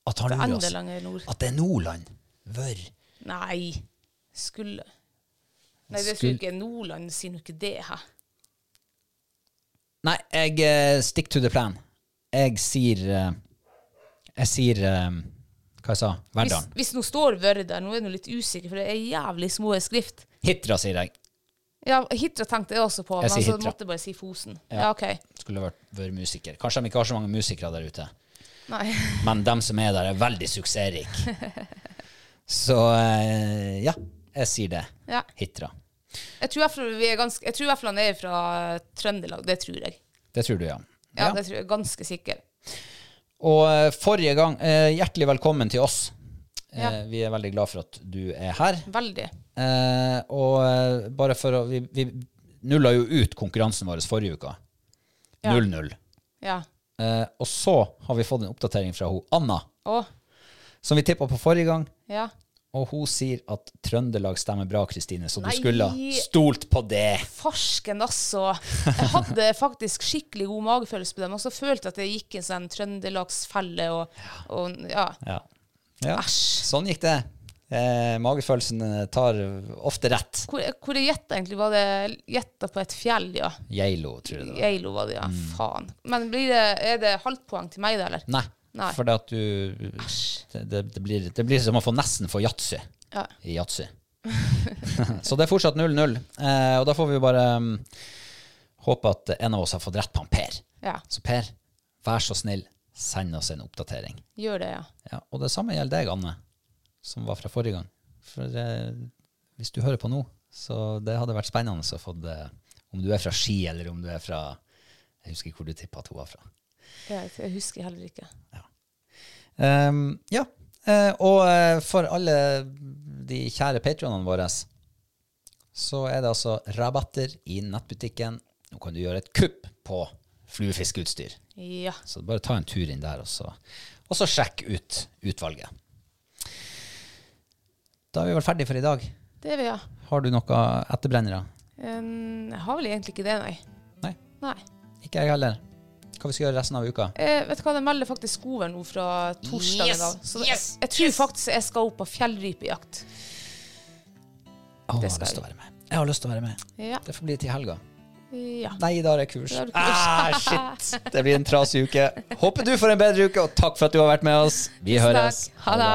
Speaker 1: at han
Speaker 2: Det
Speaker 1: lurer
Speaker 2: enda
Speaker 1: oss.
Speaker 2: lenger nord.
Speaker 1: At det er Nordland. Vør.
Speaker 2: Nei. Skulle Nei, det
Speaker 1: Skulle-
Speaker 2: sier jo ikke Nordland sier jo ikke det, hæ?
Speaker 1: Nei, jeg eh, stick to the plan. Jeg sier eh, Jeg sier eh, Hva jeg sa jeg?
Speaker 2: Hvis,
Speaker 1: Verdalen.
Speaker 2: hvis nå står Vørre der, nå er jeg nå litt usikker, for det er jævlig små skrift.
Speaker 1: Hitra, sier jeg.
Speaker 2: Ja, Hitra tenkte jeg også på,
Speaker 1: Jeg
Speaker 2: men
Speaker 1: sier
Speaker 2: så
Speaker 1: Hitra.
Speaker 2: måtte jeg bare si Fosen.
Speaker 1: Ja.
Speaker 2: Ja, ok.
Speaker 1: Skulle vært, vært musiker. Kanskje de ikke har så mange musikere der ute.
Speaker 2: Nei.
Speaker 1: Men dem som er der, er veldig suksessrike. Så eh, ja, jeg sier det.
Speaker 2: Ja.
Speaker 1: Hitra.
Speaker 2: Jeg tror i hvert fall vi er ganske- jeg tror i hvert fall han er fra Trøndelag, det tror jeg.
Speaker 1: Det tror du, ja.
Speaker 2: Ja,
Speaker 1: Ja.
Speaker 2: det tror jeg er ganske sikker.
Speaker 1: Og eh, forrige gang, eh, hjertelig velkommen til oss. Eh,
Speaker 2: Ja.
Speaker 1: Vi er veldig glad for at du er her.
Speaker 2: Veldig.
Speaker 1: Eh, og eh, bare for å Vi, vi nulla jo ut konkurransen vår forrige uke.
Speaker 2: Ja.
Speaker 1: 0-0.
Speaker 2: Ja.
Speaker 1: Eh, og så har vi fått en oppdatering fra hun, Anna,
Speaker 2: Å,
Speaker 1: som vi tippa på forrige gang.
Speaker 2: ja.
Speaker 1: Og hun sier at Trøndelag stemmer bra, Kristine, så
Speaker 2: Nei.
Speaker 1: du skulle ha stolt på det.
Speaker 2: Farsken, altså. Jeg hadde
Speaker 1: [laughs]
Speaker 2: faktisk skikkelig god magefølelse på dem, og så følte jeg at jeg gikk i en sånn trøndelagsfelle og, og ja.
Speaker 1: Ja. ja.
Speaker 2: Æsj.
Speaker 1: Sånn gikk det. Eh, magefølelsen eh, tar ofte rett.
Speaker 2: Hvor, hvor jeg gjetta egentlig? Var det gjetta på et fjell, ja?
Speaker 1: Geilo, tror jeg det Mm. var.
Speaker 2: Geilo var det, ja. Faen. Men blir det, er det halvt poeng til meg, da, eller?
Speaker 1: Nei.
Speaker 2: Nei.
Speaker 1: Fordi at du det, det, det, blir, det blir som å få nesten for yatzy
Speaker 2: Ja.
Speaker 1: i yatzy. [laughs] så det er fortsatt 0-0. Eh, og da får vi jo bare mm, håpe at en av oss har fått rett på han Per.
Speaker 2: ja.
Speaker 1: Så Per, vær så snill, send oss en oppdatering.
Speaker 2: Gjør det, ja.
Speaker 1: Ja, og det samme gjelder deg, Anne, som var fra forrige gang. For eh, hvis du hører på nå, så det hadde vært spennende å få det Om du er fra Ski, eller om du er fra Jeg husker ikke hvor du tippa at hun var fra.
Speaker 2: Jeg, jeg husker heller ikke.
Speaker 1: Ehm, ja. Eh, og eh, for alle de kjære patronene våre, så er det altså rabatter i nettbutikken. Nå kan du gjøre et kupp på fluefiskeutstyr.
Speaker 2: Ja.
Speaker 1: Så bare ta en tur inn der, og så, og så sjekk ut utvalget. Da er vi vel ferdige for i dag.
Speaker 2: Det vil jeg. ha.
Speaker 1: Har du noe etterbrennere?
Speaker 2: Um, jeg har vel egentlig ikke det, nei.
Speaker 1: Nei.
Speaker 2: Nei.
Speaker 1: Ikke jeg heller. Hva vi skal gjøre resten av uka?
Speaker 2: Eh, vet du hva, det melder faktisk godvær nå fra torsdag.
Speaker 1: Yes,
Speaker 2: Yes, Så jeg, jeg tror faktisk jeg skal opp på fjellrypejakt.
Speaker 1: Å, jeg
Speaker 2: Det
Speaker 1: har
Speaker 2: skal
Speaker 1: lyst til å være med. Jeg har lyst til å være med.
Speaker 2: Ja.
Speaker 1: Det får bli til helga.
Speaker 2: ja.
Speaker 1: Nei, da har jeg kurs.
Speaker 2: Da har du kurs.
Speaker 1: Ah, shit! Det blir en trasig uke. [laughs] Håper du får en bedre uke, og takk for at du har vært med oss. Vi høres.
Speaker 2: Takk. Ha det.